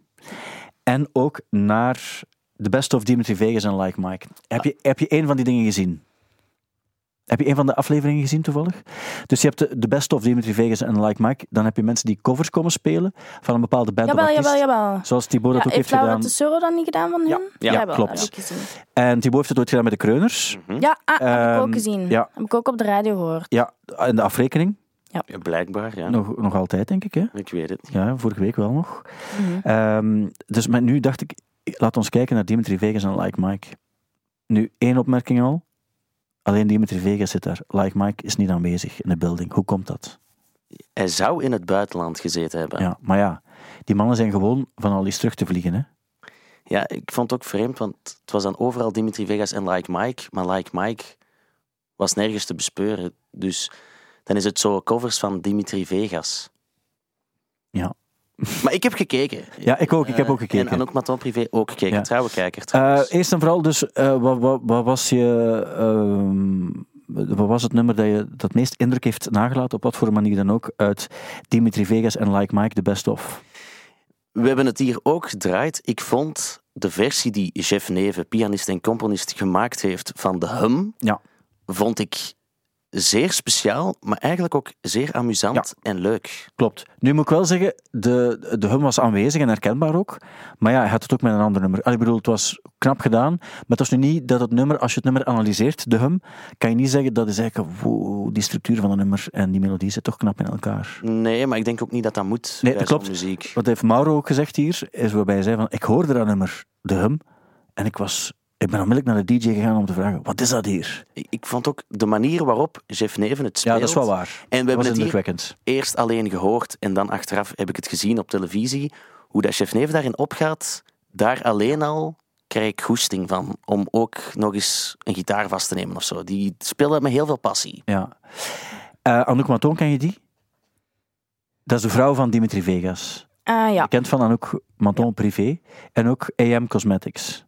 C: En ook naar The Best of Dimitri Vegas en Like Mike. Heb je, heb je een van die dingen gezien? Heb je een van de afleveringen gezien toevallig? Dus je hebt de, de Best of Dimitri Vegas en Like Mike. Dan heb je mensen die covers komen spelen van een bepaalde band of
D: Jawel,
C: artiest.
D: jawel, jawel.
C: Zoals Thibaut dat
D: Ja,
C: ook heeft
D: heeft Laura
C: gedaan.
D: Tessoro dat niet gedaan van hun?
C: Ja, ja,
D: wel,
C: klopt.
D: dat heb ik gezien.
C: En Thibaut heeft het ooit gedaan met de Kreuners.
E: Mhm.
D: Ja, ah, dat heb ik
C: Ehm,
D: ook gezien.
C: ja.
D: Heb ik ook op de radio gehoord.
C: Ja, en de afrekening.
E: Ja, Blijkbaar, ja.
C: Nog, nog altijd, denk ik. Hè?
E: Ik weet het.
C: Ja, vorige week wel nog. Ehm, dus maar nu dacht ik, laat ons kijken naar Dimitri Vegas en Like Mike. Nu, één opmerking al. Alleen Dimitri Vegas zit daar. Like Mike is niet aanwezig in de building. Hoe komt dat?
E: Hij zou in het buitenland gezeten hebben.
C: Ja, maar ja, die mannen zijn gewoon van al iets terug te vliegen. Hè?
E: Ja, ik vond het ook vreemd, want het was dan overal Dimitri Vegas en Like Mike. Maar Like Mike was nergens te bespeuren. Dus dan is het zo covers van Dimitri Vegas.
C: Ja.
E: Maar ik heb gekeken. Eh,
C: Ja, ik ook. Ik heb ook gekeken.
E: En Anouk Maton Privé ook gekeken.
C: Ja.
E: Trouwe kijker
C: Eh,
E: trouwens.
C: eerst en vooral, dus, eh, wat, wat, wat was je. ehm, wat was het nummer dat je dat het meest indruk heeft nagelaten, op wat voor manier dan ook, uit Dimitri Vegas en Like Mike, de best of?
E: We hebben het hier ook gedraaid. Ik vond de versie die Jeff Neven, pianist en componist, gemaakt heeft van de hum,
C: Ja.
E: vond ik zeer speciaal, maar eigenlijk ook zeer amusant en leuk.
C: Klopt. Nu moet ik wel zeggen, de, de hum was aanwezig en herkenbaar ook. Maar ja, hij had het ook met een ander nummer. Allee, Ik bedoel, het was knap gedaan. Maar het was nu niet dat het nummer, als je het nummer analyseert, de hum, kan je niet zeggen dat is eigenlijk, wow, die structuur van het nummer en die melodie zit toch knap in elkaar.
E: Nee, maar ik denk ook niet dat dat moet.
C: Nee,
E: bij
C: dat
E: zo'n
C: klopt.
E: Muziek.
C: Wat heeft Mauro ook gezegd hier, is waarbij hij zei van, ik hoorde dat nummer, de hum, en ik was... Ik ben onmiddellijk naar de DJ gegaan om te vragen: wat is dat hier?
E: Ik ik vond ook de manier waarop Jeff Neven het
C: Ja,
E: speelt.
C: dat is wel waar.
E: En we
C: dat
E: hebben
C: was
E: het hier
C: indrukwekkend.
E: eerst alleen gehoord en dan achteraf heb ik het gezien op televisie. Hoe dat Jeff Neven daarin opgaat, daar alleen al krijg ik goesting van. Om ook nog eens een gitaar vast te nemen of zo. Die speelde met heel veel passie.
C: Ja. Eh Anouk Maton, ken je die? Dat is de vrouw van Dimitri Vegas.
D: Ah ja.
C: Bekend van Anouk Maton Privé. En ook AM Cosmetics.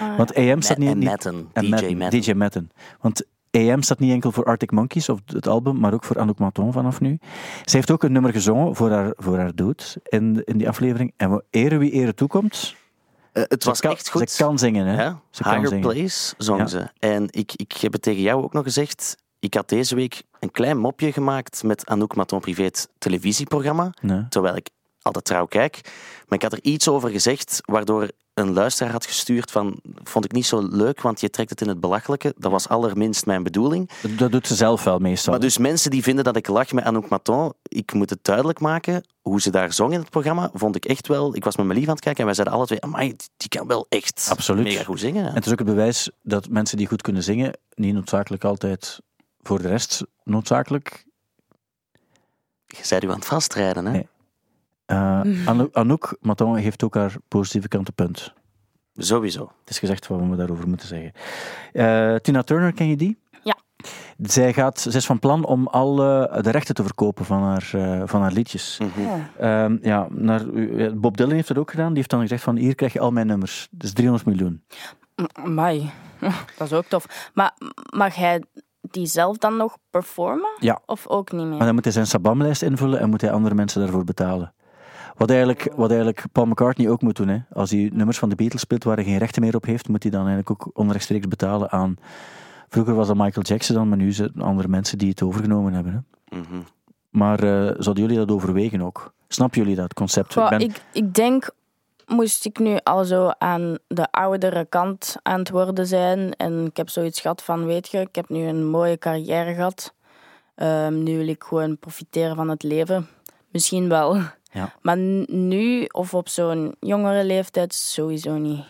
D: Ah,
C: Want AM staat niet...
E: en
C: niet-
E: Matten,
C: en
E: DJ
C: Madden,
E: Matten.
C: DJ Madden. Want AM staat niet enkel voor Arctic Monkeys of het album, maar ook voor Anouk Maton vanaf nu. Ze heeft ook een nummer gezongen voor haar, voor haar dood in, in die aflevering. En we eren wie eren toekomt.
E: Eh, het was
C: ze kan,
E: echt goed.
C: Ze kan zingen, hè?
E: Ja,
C: Ze kan
E: Higher
C: zingen.
E: Place zong
C: Ja.
E: ze. En ik, ik heb het tegen jou ook nog gezegd. Ik had deze week een klein mopje gemaakt met Anouk Maton Privé, het televisieprogramma.
C: Nee.
E: Terwijl ik altijd trouw kijk. Maar ik had er iets over gezegd, waardoor een luisteraar had gestuurd van... Vond ik niet zo leuk, want je trekt het in het belachelijke. Dat was allerminst mijn bedoeling.
C: Dat- Dat doet ze zelf wel meestal.
E: Maar dus mensen die vinden dat ik lach met Anouk Maton, ik moet het duidelijk maken. Hoe ze daar zong in het programma, vond ik echt wel... Ik was met mijn lief aan het kijken en wij zeiden alle twee... Amai, die kan wel echt
C: Absoluut.
E: mega goed zingen.
C: En het is ook het bewijs dat mensen die goed kunnen zingen, niet noodzakelijk altijd voor de rest noodzakelijk.
E: Je zei u aan het vastrijden, hè?
C: Nee. Eh, Anou- Anouk Maton heeft ook haar positieve kant op punt.
E: Sowieso.
C: Het is gezegd wat we daarover moeten zeggen. Eh, Tina Turner, ken je die?
D: Ja.
C: Zij, gaat, zij is van plan om alle eh, de rechten te verkopen van haar, eh, van haar liedjes. Ehm, ja, naar, eh, Bob Dylan heeft dat ook gedaan. Die heeft dan gezegd van hier krijg je al mijn nummers. Dus 300 miljoen.
D: Amai. Dat is ook tof. Maar mag hij die zelf dan nog performen?
C: Ja.
D: Of ook niet meer?
C: Maar dan moet hij zijn sabamlijst invullen en moet hij andere mensen daarvoor betalen. Wat eigenlijk, wat eigenlijk Paul McCartney ook moet doen. Hè. Als hij nummers van de Beatles speelt waar hij geen rechten meer op heeft, moet hij dan eigenlijk ook onrechtstreeks betalen aan. Vroeger was dat Michael Jackson dan, maar nu zijn het andere mensen die het overgenomen hebben. Hè.
E: Mhm.
C: Maar eh, zouden jullie dat overwegen ook? Snappen jullie dat concept?
D: Goh,
C: Dus Ik ben-
D: ik, ik denk, moest ik nu al zo aan de oudere kant aan het worden zijn. En ik heb zoiets gehad van, weet je, ik heb nu een mooie carrière gehad. Ehm, nu wil ik gewoon profiteren van het leven. Misschien wel.
C: Ja.
D: Maar n- nu, of op zo'n jongere leeftijd, sowieso niet.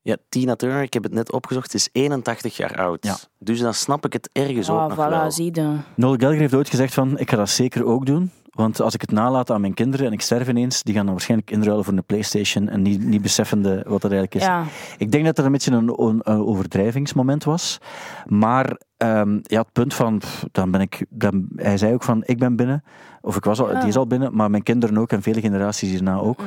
E: Ja, Tina Turner, ik heb het net opgezocht, is 81 jaar oud.
C: Ja.
E: Dus dan snap ik het ergens ook
D: Ah,
E: nog
D: voilà,
E: wel.
D: zie je.
C: Noel Gallagher heeft ooit gezegd van, ik ga dat zeker ook doen. Want als ik het nalaat aan mijn kinderen en ik sterf ineens, die gaan dan waarschijnlijk inruilen voor een Playstation en niet, niet beseffende wat dat eigenlijk is.
D: Ja.
C: Ik denk dat er een beetje een, on- een overdrijvingsmoment was. Maar ehm, ja, het punt van, pff, dan ben ik, dan, hij zei ook van, ik ben binnen. Of ik was al, die is al binnen, maar mijn kinderen ook en vele generaties hierna ook.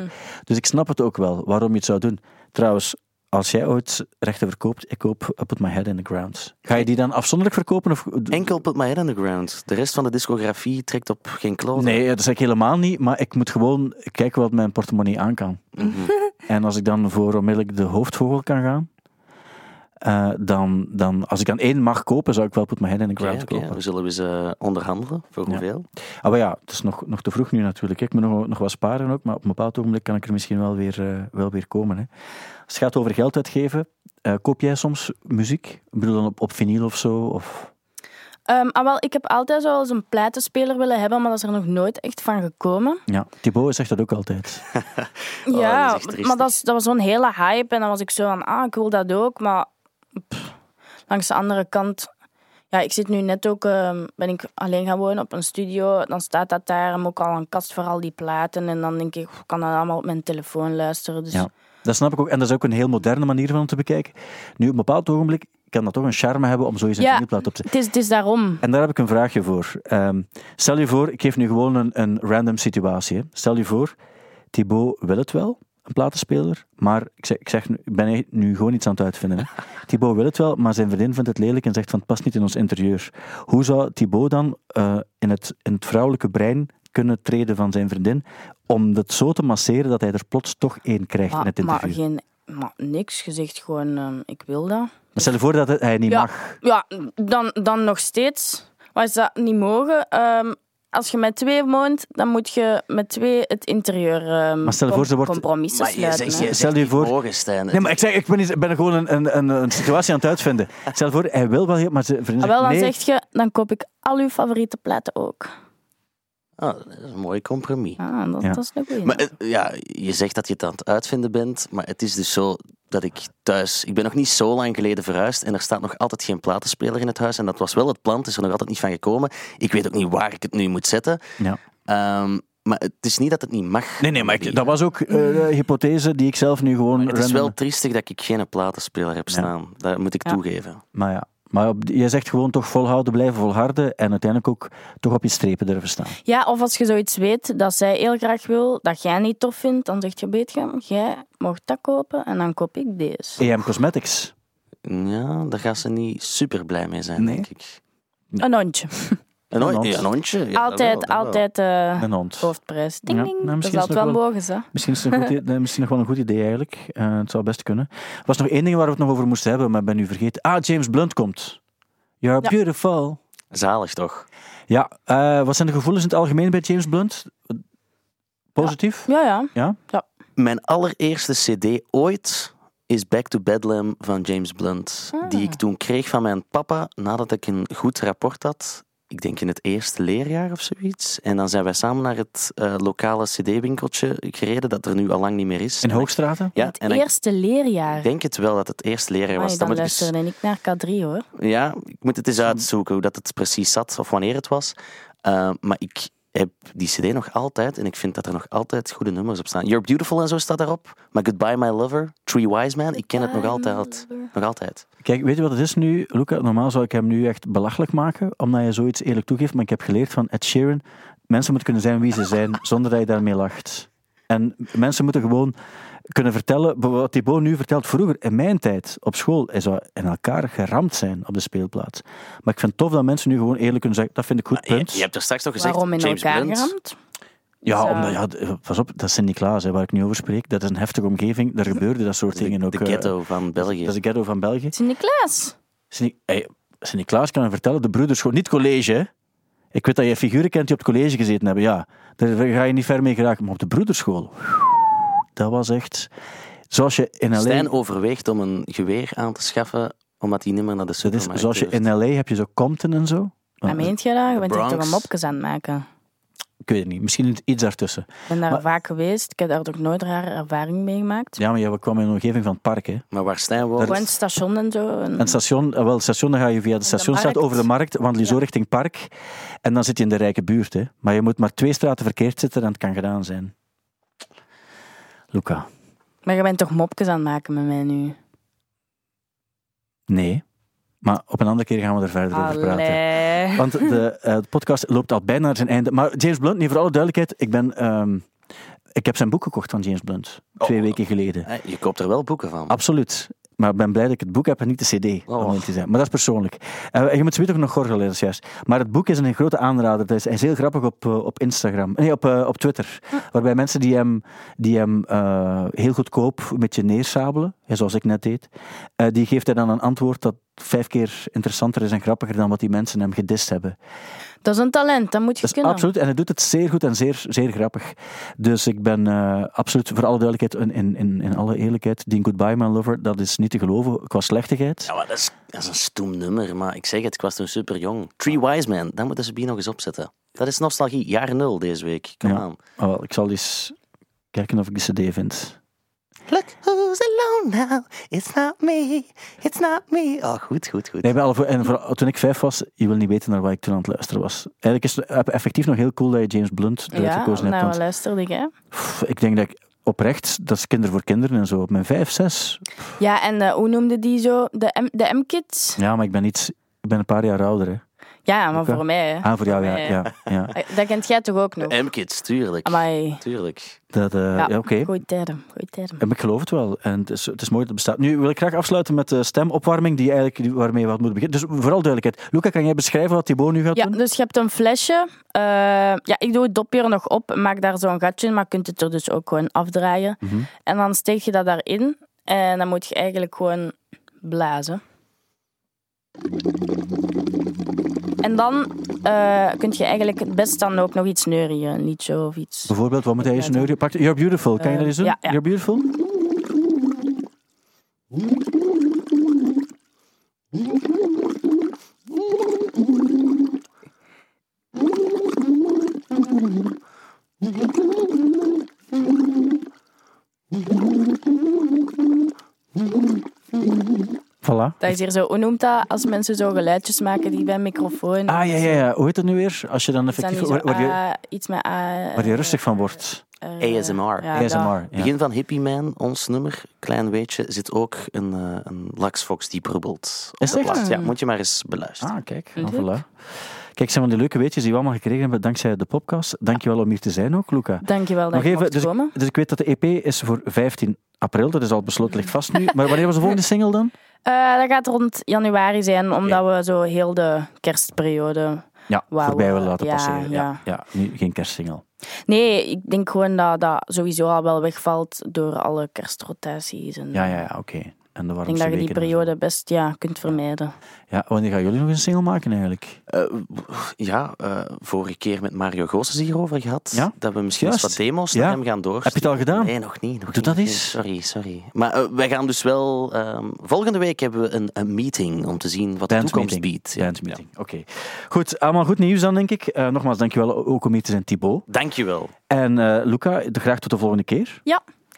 C: Dus ik snap het ook wel, waarom je het zou doen. Trouwens, als jij ooit rechten verkoopt, ik koop Up With My Head In The Ground. Ga je die dan afzonderlijk verkopen? Of...
E: Enkel Put My Head on the Ground. De rest van de discografie trekt op geen kloot.
C: Nee, dat zeg ik helemaal niet. Maar ik moet gewoon kijken wat mijn portemonnee aan kan.
E: Mhm.
C: En als ik dan voor onmiddellijk de hoofdvogel kan gaan, eh, dan, dan als ik aan één mag kopen, zou ik wel Put My Head in the
E: Oké,
C: Ground
E: oké,
C: kopen.
E: we zullen eens eh, onderhandelen. Voor hoeveel?
C: Ah, maar ja, het is nog, nog te vroeg nu natuurlijk. Ik moet nog, nog wat sparen ook, maar op een bepaald ogenblik kan ik er misschien wel weer, eh, wel weer komen. Hè. Als het gaat over geld uitgeven, eh, koop jij soms muziek? Ik bedoel dan op, op vinyl of zo? Of...
D: Ehm, ah, wel, ik heb altijd zo wel eens een pleitenspeler willen hebben, maar dat is er nog nooit echt van gekomen.
C: Ja, Thibaut zegt dat ook altijd.
D: ja,
E: Oh, dat is echt triestig.
D: maar dat, is- dat was zo'n hele hype en dan was ik zo van, ah, ik wil dat ook, maar pff, langs de andere kant, ja, ik zit nu net ook, ehm, ben ik alleen gaan wonen op een studio, dan staat dat daar, en ook al een kast voor al die platen en dan denk ik, ik kan dat allemaal op mijn telefoon luisteren, dus
C: Ja, dat snap ik ook. En dat is ook een heel moderne manier van het te bekijken. Nu, op een bepaald ogenblik kan dat toch een charme hebben om zoiets een
D: Ja.
C: vinylplaat op te...
D: het, is, het is daarom.
C: En daar heb ik een vraagje voor. Ehm, stel je voor, ik geef nu gewoon een, een random situatie. hè. Stel je voor, Thibaut wil het wel, een platenspeler, maar ik, zeg, ik, zeg, nu- ik ben nu gewoon iets aan het uitvinden. Hè. Thibaut wil het wel, maar zijn vriendin vindt het lelijk en zegt van het past niet in ons interieur. Hoe zou Thibaut dan eh, in, het, in het vrouwelijke brein kunnen treden van zijn vriendin om dat zo te masseren dat hij er plots toch één krijgt in
D: Maar,
C: het
D: Ah, maar,
C: interview?
D: geen, maar niks, gezegd gewoon, ehm, ik wil dat.
C: Maar stel je voor dat hij niet
D: Ja.
C: mag.
D: Ja, dan, dan nog steeds. Maar is dat niet mogen? Ehm, als je met twee woont, dan moet je met twee het interieur ehm
C: Maar stel je voor, ze wordt-
D: compromissen sluiten. hè.
C: Stel je
E: niet
C: voor-
E: mogen, Stijn.
C: Nee, maar ik, zeg, ik ben, niet- ik ben gewoon een, een, een, een situatie aan het uitvinden. Stel je voor, hij wil wel heel, maar zijn vriendin
D: Ah, wel,
C: zegt
D: dan
C: nee.
D: zeg je, dan koop ik al uw favoriete platen ook.
E: Ah, dat is een mooi compromis.
D: Ah, dat,
C: Ja.
D: dat is een goeie.
E: Maar eh, ja, je zegt dat je het aan het uitvinden bent, maar het is dus zo dat ik thuis... Ik ben nog niet zo lang geleden verhuisd en er staat nog altijd geen platenspeler in het huis. En dat was wel het plan, het is er nog altijd niet van gekomen. Ik weet ook niet waar ik het nu moet zetten.
C: Ja.
E: Ehm, maar het is niet dat het niet mag.
C: Nee, nee, maar ik- dat was ook eh, de hypothese die ik zelf nu gewoon...
E: Het is
C: random-
E: wel triestig dat ik geen platenspeler heb staan. Dat moet ik
D: Ja.
E: toegeven.
C: Maar ja, maar op- je zegt gewoon toch volhouden, blijven volharden en uiteindelijk ook toch op je strepen durven staan.
D: Ja, of als je zoiets weet dat zij heel graag wil, dat jij niet tof vindt, dan zeg je, weet je, jij mag dat kopen en dan koop ik deze.
C: EM Cosmetics.
E: Ja, daar gaan ze niet super blij mee zijn,
C: Nee.
E: denk ik.
D: Een hondje.
E: Een,
C: hond.
E: hond. ja, een hondje. Ja, dat
D: altijd,
E: wel, dat wel.
D: altijd eh,
C: Een hond.
D: hoofdprijs. Ding,
C: Ja,
D: ding.
C: nou,
D: dat
C: misschien
D: zal
C: is
D: het
C: het
D: wel
C: nog
D: mogen, hè.
C: Misschien is het een goed, i- nee, misschien nog wel een goed idee eigenlijk. Eh, het zou best kunnen. Er was nog één ding waar we het nog over moesten hebben, maar ik ben nu vergeten. Ah, James Blunt komt. You're
D: Ja.
C: beautiful.
E: Zalig toch?
C: Ja, eh, wat zijn de gevoelens in het algemeen bij James Blunt? Positief?
D: Ja, ja.
E: Mijn allereerste CD ooit is Back to Bedlam van James Blunt.
D: Ah.
E: Die ik toen kreeg van mijn papa nadat ik een goed rapport had. Ik denk in het eerste leerjaar of zoiets. En dan zijn wij samen naar het eh, lokale CD-winkeltje gereden, dat er nu al lang niet meer is.
C: In Hoogstraten?
E: Ja,
D: Het
E: en ik
D: eerste leerjaar.
E: denk het wel dat het eerste leerjaar
D: Amai,
E: was.
D: dan
E: Dan moet ik dus eens-
D: luisterde ik naar K3 hoor.
E: Ja, ik moet
D: Hm.
E: het eens uitzoeken hoe dat het precies zat of wanneer het was. Eh, maar ik heb die CD nog altijd en ik vind dat er nog altijd goede nummers op staan. You're Beautiful en zo staat daarop. Maar Goodbye My Lover, Three Wise Man, ik ken het nog altijd. Nog altijd.
C: Kijk, weet je wat het is nu, Luca? Normaal zou ik hem nu echt belachelijk maken, omdat je zoiets eerlijk toegeeft. Maar ik heb geleerd van Ed Sheeran, mensen moeten kunnen zijn wie ze zijn, zonder dat je daarmee lacht. En mensen moeten gewoon kunnen vertellen, wat Thibaut nu vertelt vroeger, in mijn tijd op school, is dat in elkaar geramd zijn op de speelplaats. Maar ik vind het tof dat mensen nu gewoon eerlijk kunnen zeggen, dat vind ik goed,
E: Ah, Je,
C: punt.
E: je hebt er straks toch gezegd,
D: Waarom in
E: James
D: elkaar
E: Blunt.
D: geramd?
C: Ja,
D: Dus, eh,
C: omdat, ja, d- pas op, dat is Sint-Niklaas, hè, waar ik nu over spreek. Dat is een heftige omgeving, daar gebeurde dat soort dingen ook.
E: De
C: eh,
E: ghetto van België.
C: Dat is de ghetto van België.
D: Sint-Niklaas.
C: Sint- hey, Sint-Niklaas kan hem vertellen, de broederschool, niet college. hè. Ik weet dat je figuren kent die op het college gezeten hebben, ja. Daar ga je niet ver mee geraken. Maar op de broederschool, dat was echt... Zoals je in LA...
E: Stijn overweegt om een geweer aan te schaffen, omdat hij niet meer naar de
C: dat is,
E: supermarkt
C: zoals je
E: durft.
C: in LA heb je zo Compton en zo. Nou, eh,
D: Wat meent je daar? Je bent echt
E: Bronx.
D: toch een mopjes aan het maken.
C: Ik weet het niet, misschien iets daartussen.
D: Ik ben daar
C: Maar-
D: vaak geweest. Ik heb daar nog nooit rare ervaring mee gemaakt.
C: Ja, maar je kwam in een omgeving van het park, hè.
E: Maar waar Stijn woont...
D: Gewoon het station en zo. En
C: En het station, eh, wel, het station, dan ga je via de stationsstraat
D: markt.
C: over de markt, wandel je zo richting park. En dan zit je in de rijke buurt. Hè. Maar je moet maar twee straten verkeerd zitten en het kan gedaan zijn. Luca,
D: Maar je bent toch mopjes aan het maken met mij nu?
C: nee. Maar op een andere keer gaan we er verder over praten.
D: Allee.
C: Want de, eh, de podcast loopt al bijna naar zijn einde. Maar James Blunt, nee, voor alle duidelijkheid, ik, ben, ehm, ik heb zijn boek gekocht van James Blunt. Twee
E: Oh.
C: weken geleden.
E: Eh, Je koopt er wel boeken van.
C: Absoluut. Maar ik ben blij dat ik het boek heb en niet de cd.
E: Oh.
C: Om het te zijn. Maar dat is persoonlijk. Eh, je moet ze nog gorgelen, dat is juist. Maar het boek is een grote aanrader. Dat is, hij is heel grappig op, eh, op Instagram. Nee, op, eh, op Twitter. Waarbij mensen die hem, die hem eh, heel goedkoop een beetje neersabelen, ja, zoals ik net deed, eh, die geeft hij dan een antwoord dat vijf keer interessanter is en grappiger dan wat die mensen hem gedist hebben.
D: Dat is een talent, dat moet je
C: Dat is
D: kunnen.
C: absoluut. En hij doet het zeer goed en zeer, zeer grappig. Dus ik ben eh, absoluut, voor alle duidelijkheid, in- in, in, in alle eerlijkheid, die Goodbye My Lover, dat is niet te geloven qua slechtigheid.
E: Ja, maar dat, is, dat is een stoem nummer, maar ik zeg het, ik was toen super jong. Three Wise Men, daar moeten ze bij nog eens opzetten. Dat is nostalgie, jaar nul deze week. Kom
C: Ja.
E: aan.
C: Ah, wel, ik zal eens kijken of ik die cd vind.
E: Look who's alone now, it's not me, it's not me. Oh, goed, goed, goed.
C: Nee, bij alle voor- en vooral toen ik vijf was, je wil niet weten naar waar ik toen aan het luisteren was. Eigenlijk is het e- effectief nog heel cool dat je James Blunt
D: Ja,
C: uitgekozen hebt.
D: nou,
C: want,
D: wat luisterde ik, hè?
C: pff, ik denk dat ik oprecht, dat is kinder voor kinderen en zo, op mijn vijf, zes.
D: Ja, en eh, hoe noemde die zo? De, M- de M-kids?
C: Ja, maar ik ben, iets, ik ben een paar jaar ouder. Hè.
D: Ja, maar
C: Oké.
D: voor mij. hè.
C: Ah, voor jou, ja.
D: Nee.
C: ja, ja.
D: Eh, Dat kent jij toch ook nog?
E: M-Kids, tuurlijk.
D: Amai.
E: Tuurlijk.
C: Dat, eh, ja, oké.
D: Goeie term, goeie term.
C: Ik geloof het wel. En het is, het is mooi dat het bestaat. Nu wil ik graag afsluiten met de stemopwarming, die eigenlijk, die- waarmee we wat moeten beginnen. Dus vooral duidelijkheid. Luca, kan jij beschrijven wat Thibaut nu gaat
D: Ja,
C: doen?
D: dus je hebt een flesje. Eh, ja, ik doe het dopje er nog op, maak daar zo'n gatje in, maar je kunt het er dus ook gewoon afdraaien.
C: Mhm.
D: En dan steek je dat daarin en dan moet je eigenlijk gewoon blazen. En dan eh kun je eigenlijk het best dan ook nog iets neurien, een liedje of iets.
C: Bijvoorbeeld, wat moet hij eens nu pakken? You're Beautiful, kan je dat eens doen?
D: Eh, ja, ja.
C: You're Beautiful? Voilà.
D: Dat is hier zo, hoe noemt dat als mensen zo geluidjes maken die bij een microfoon...
C: Ah, ja, ja, ja. Hoe heet dat nu weer? Als je dan
D: Is dat
C: effectief...
D: niet
C: Waar,
D: zo,
C: waar je,
D: ah, iets met... ah,
C: waar je rustig van wordt.
D: eh,
E: ASMR.
D: ja, dat.
C: ASMR. ja.
E: Begin van Hippie Man, ons nummer, klein weetje, zit ook een, eh een laksfox die brubbelt. op
C: Is
E: de
C: echt?
E: plaat.
D: Mm.
E: Ja, moet je maar eens beluisteren.
C: Ah, kijk.
D: Leuk.
C: Ah, voilà. Kijk, zijn van die leuke weetjes die we allemaal gekregen hebben dankzij de podcast. Dankjewel om hier te zijn ook, Luca.
D: Dankjewel dat je mocht
C: dus,
D: komen.
C: ik- dus ik weet dat de EP is voor 15 april. Dat is al besloten, ligt vast nu. Maar wanneer was de volgende single dan?
D: Eh, dat gaat rond januari zijn, omdat we zo heel de kerstperiode.
C: Ja,
D: Wauw,
C: voorbij willen
D: eh,
C: laten
D: ja,
C: passeren. Ja, ja.
D: ja.
C: nu geen kerstsingle.
D: Nee, ik denk gewoon dat dat sowieso al wel wegvalt door alle kerstrotaties. En
C: Ja, ja, ja, oké. En de
D: Ik denk
C: warmste
D: dat je die
C: weken en zo.
D: periode best ja, kunt vermijden.
C: Ja, wanneer gaan jullie nog een single maken eigenlijk?
E: Ja, eh, vorige keer met Mario Goossens hierover gehad.
C: Ja,
E: Dat we misschien
C: juist.
E: eens wat demo's
C: Ja.
E: naar hem gaan doorsturen.
C: Heb je het al gedaan?
E: Nee, nog niet. Nog
C: Doe
E: niet,
C: dat
E: nog
C: eens.
E: niet. Sorry, sorry. Maar eh, wij gaan dus wel... ehm, volgende week hebben we een, een meeting om te zien wat de toekomst biedt. Ja.
C: Bandmeeting, oké. Goed, allemaal goed nieuws dan, denk ik. Eh, nogmaals, dankjewel ook om hier te zijn, Thibaut.
E: Dankjewel.
C: En eh Luca, graag tot de volgende keer.
D: Ja,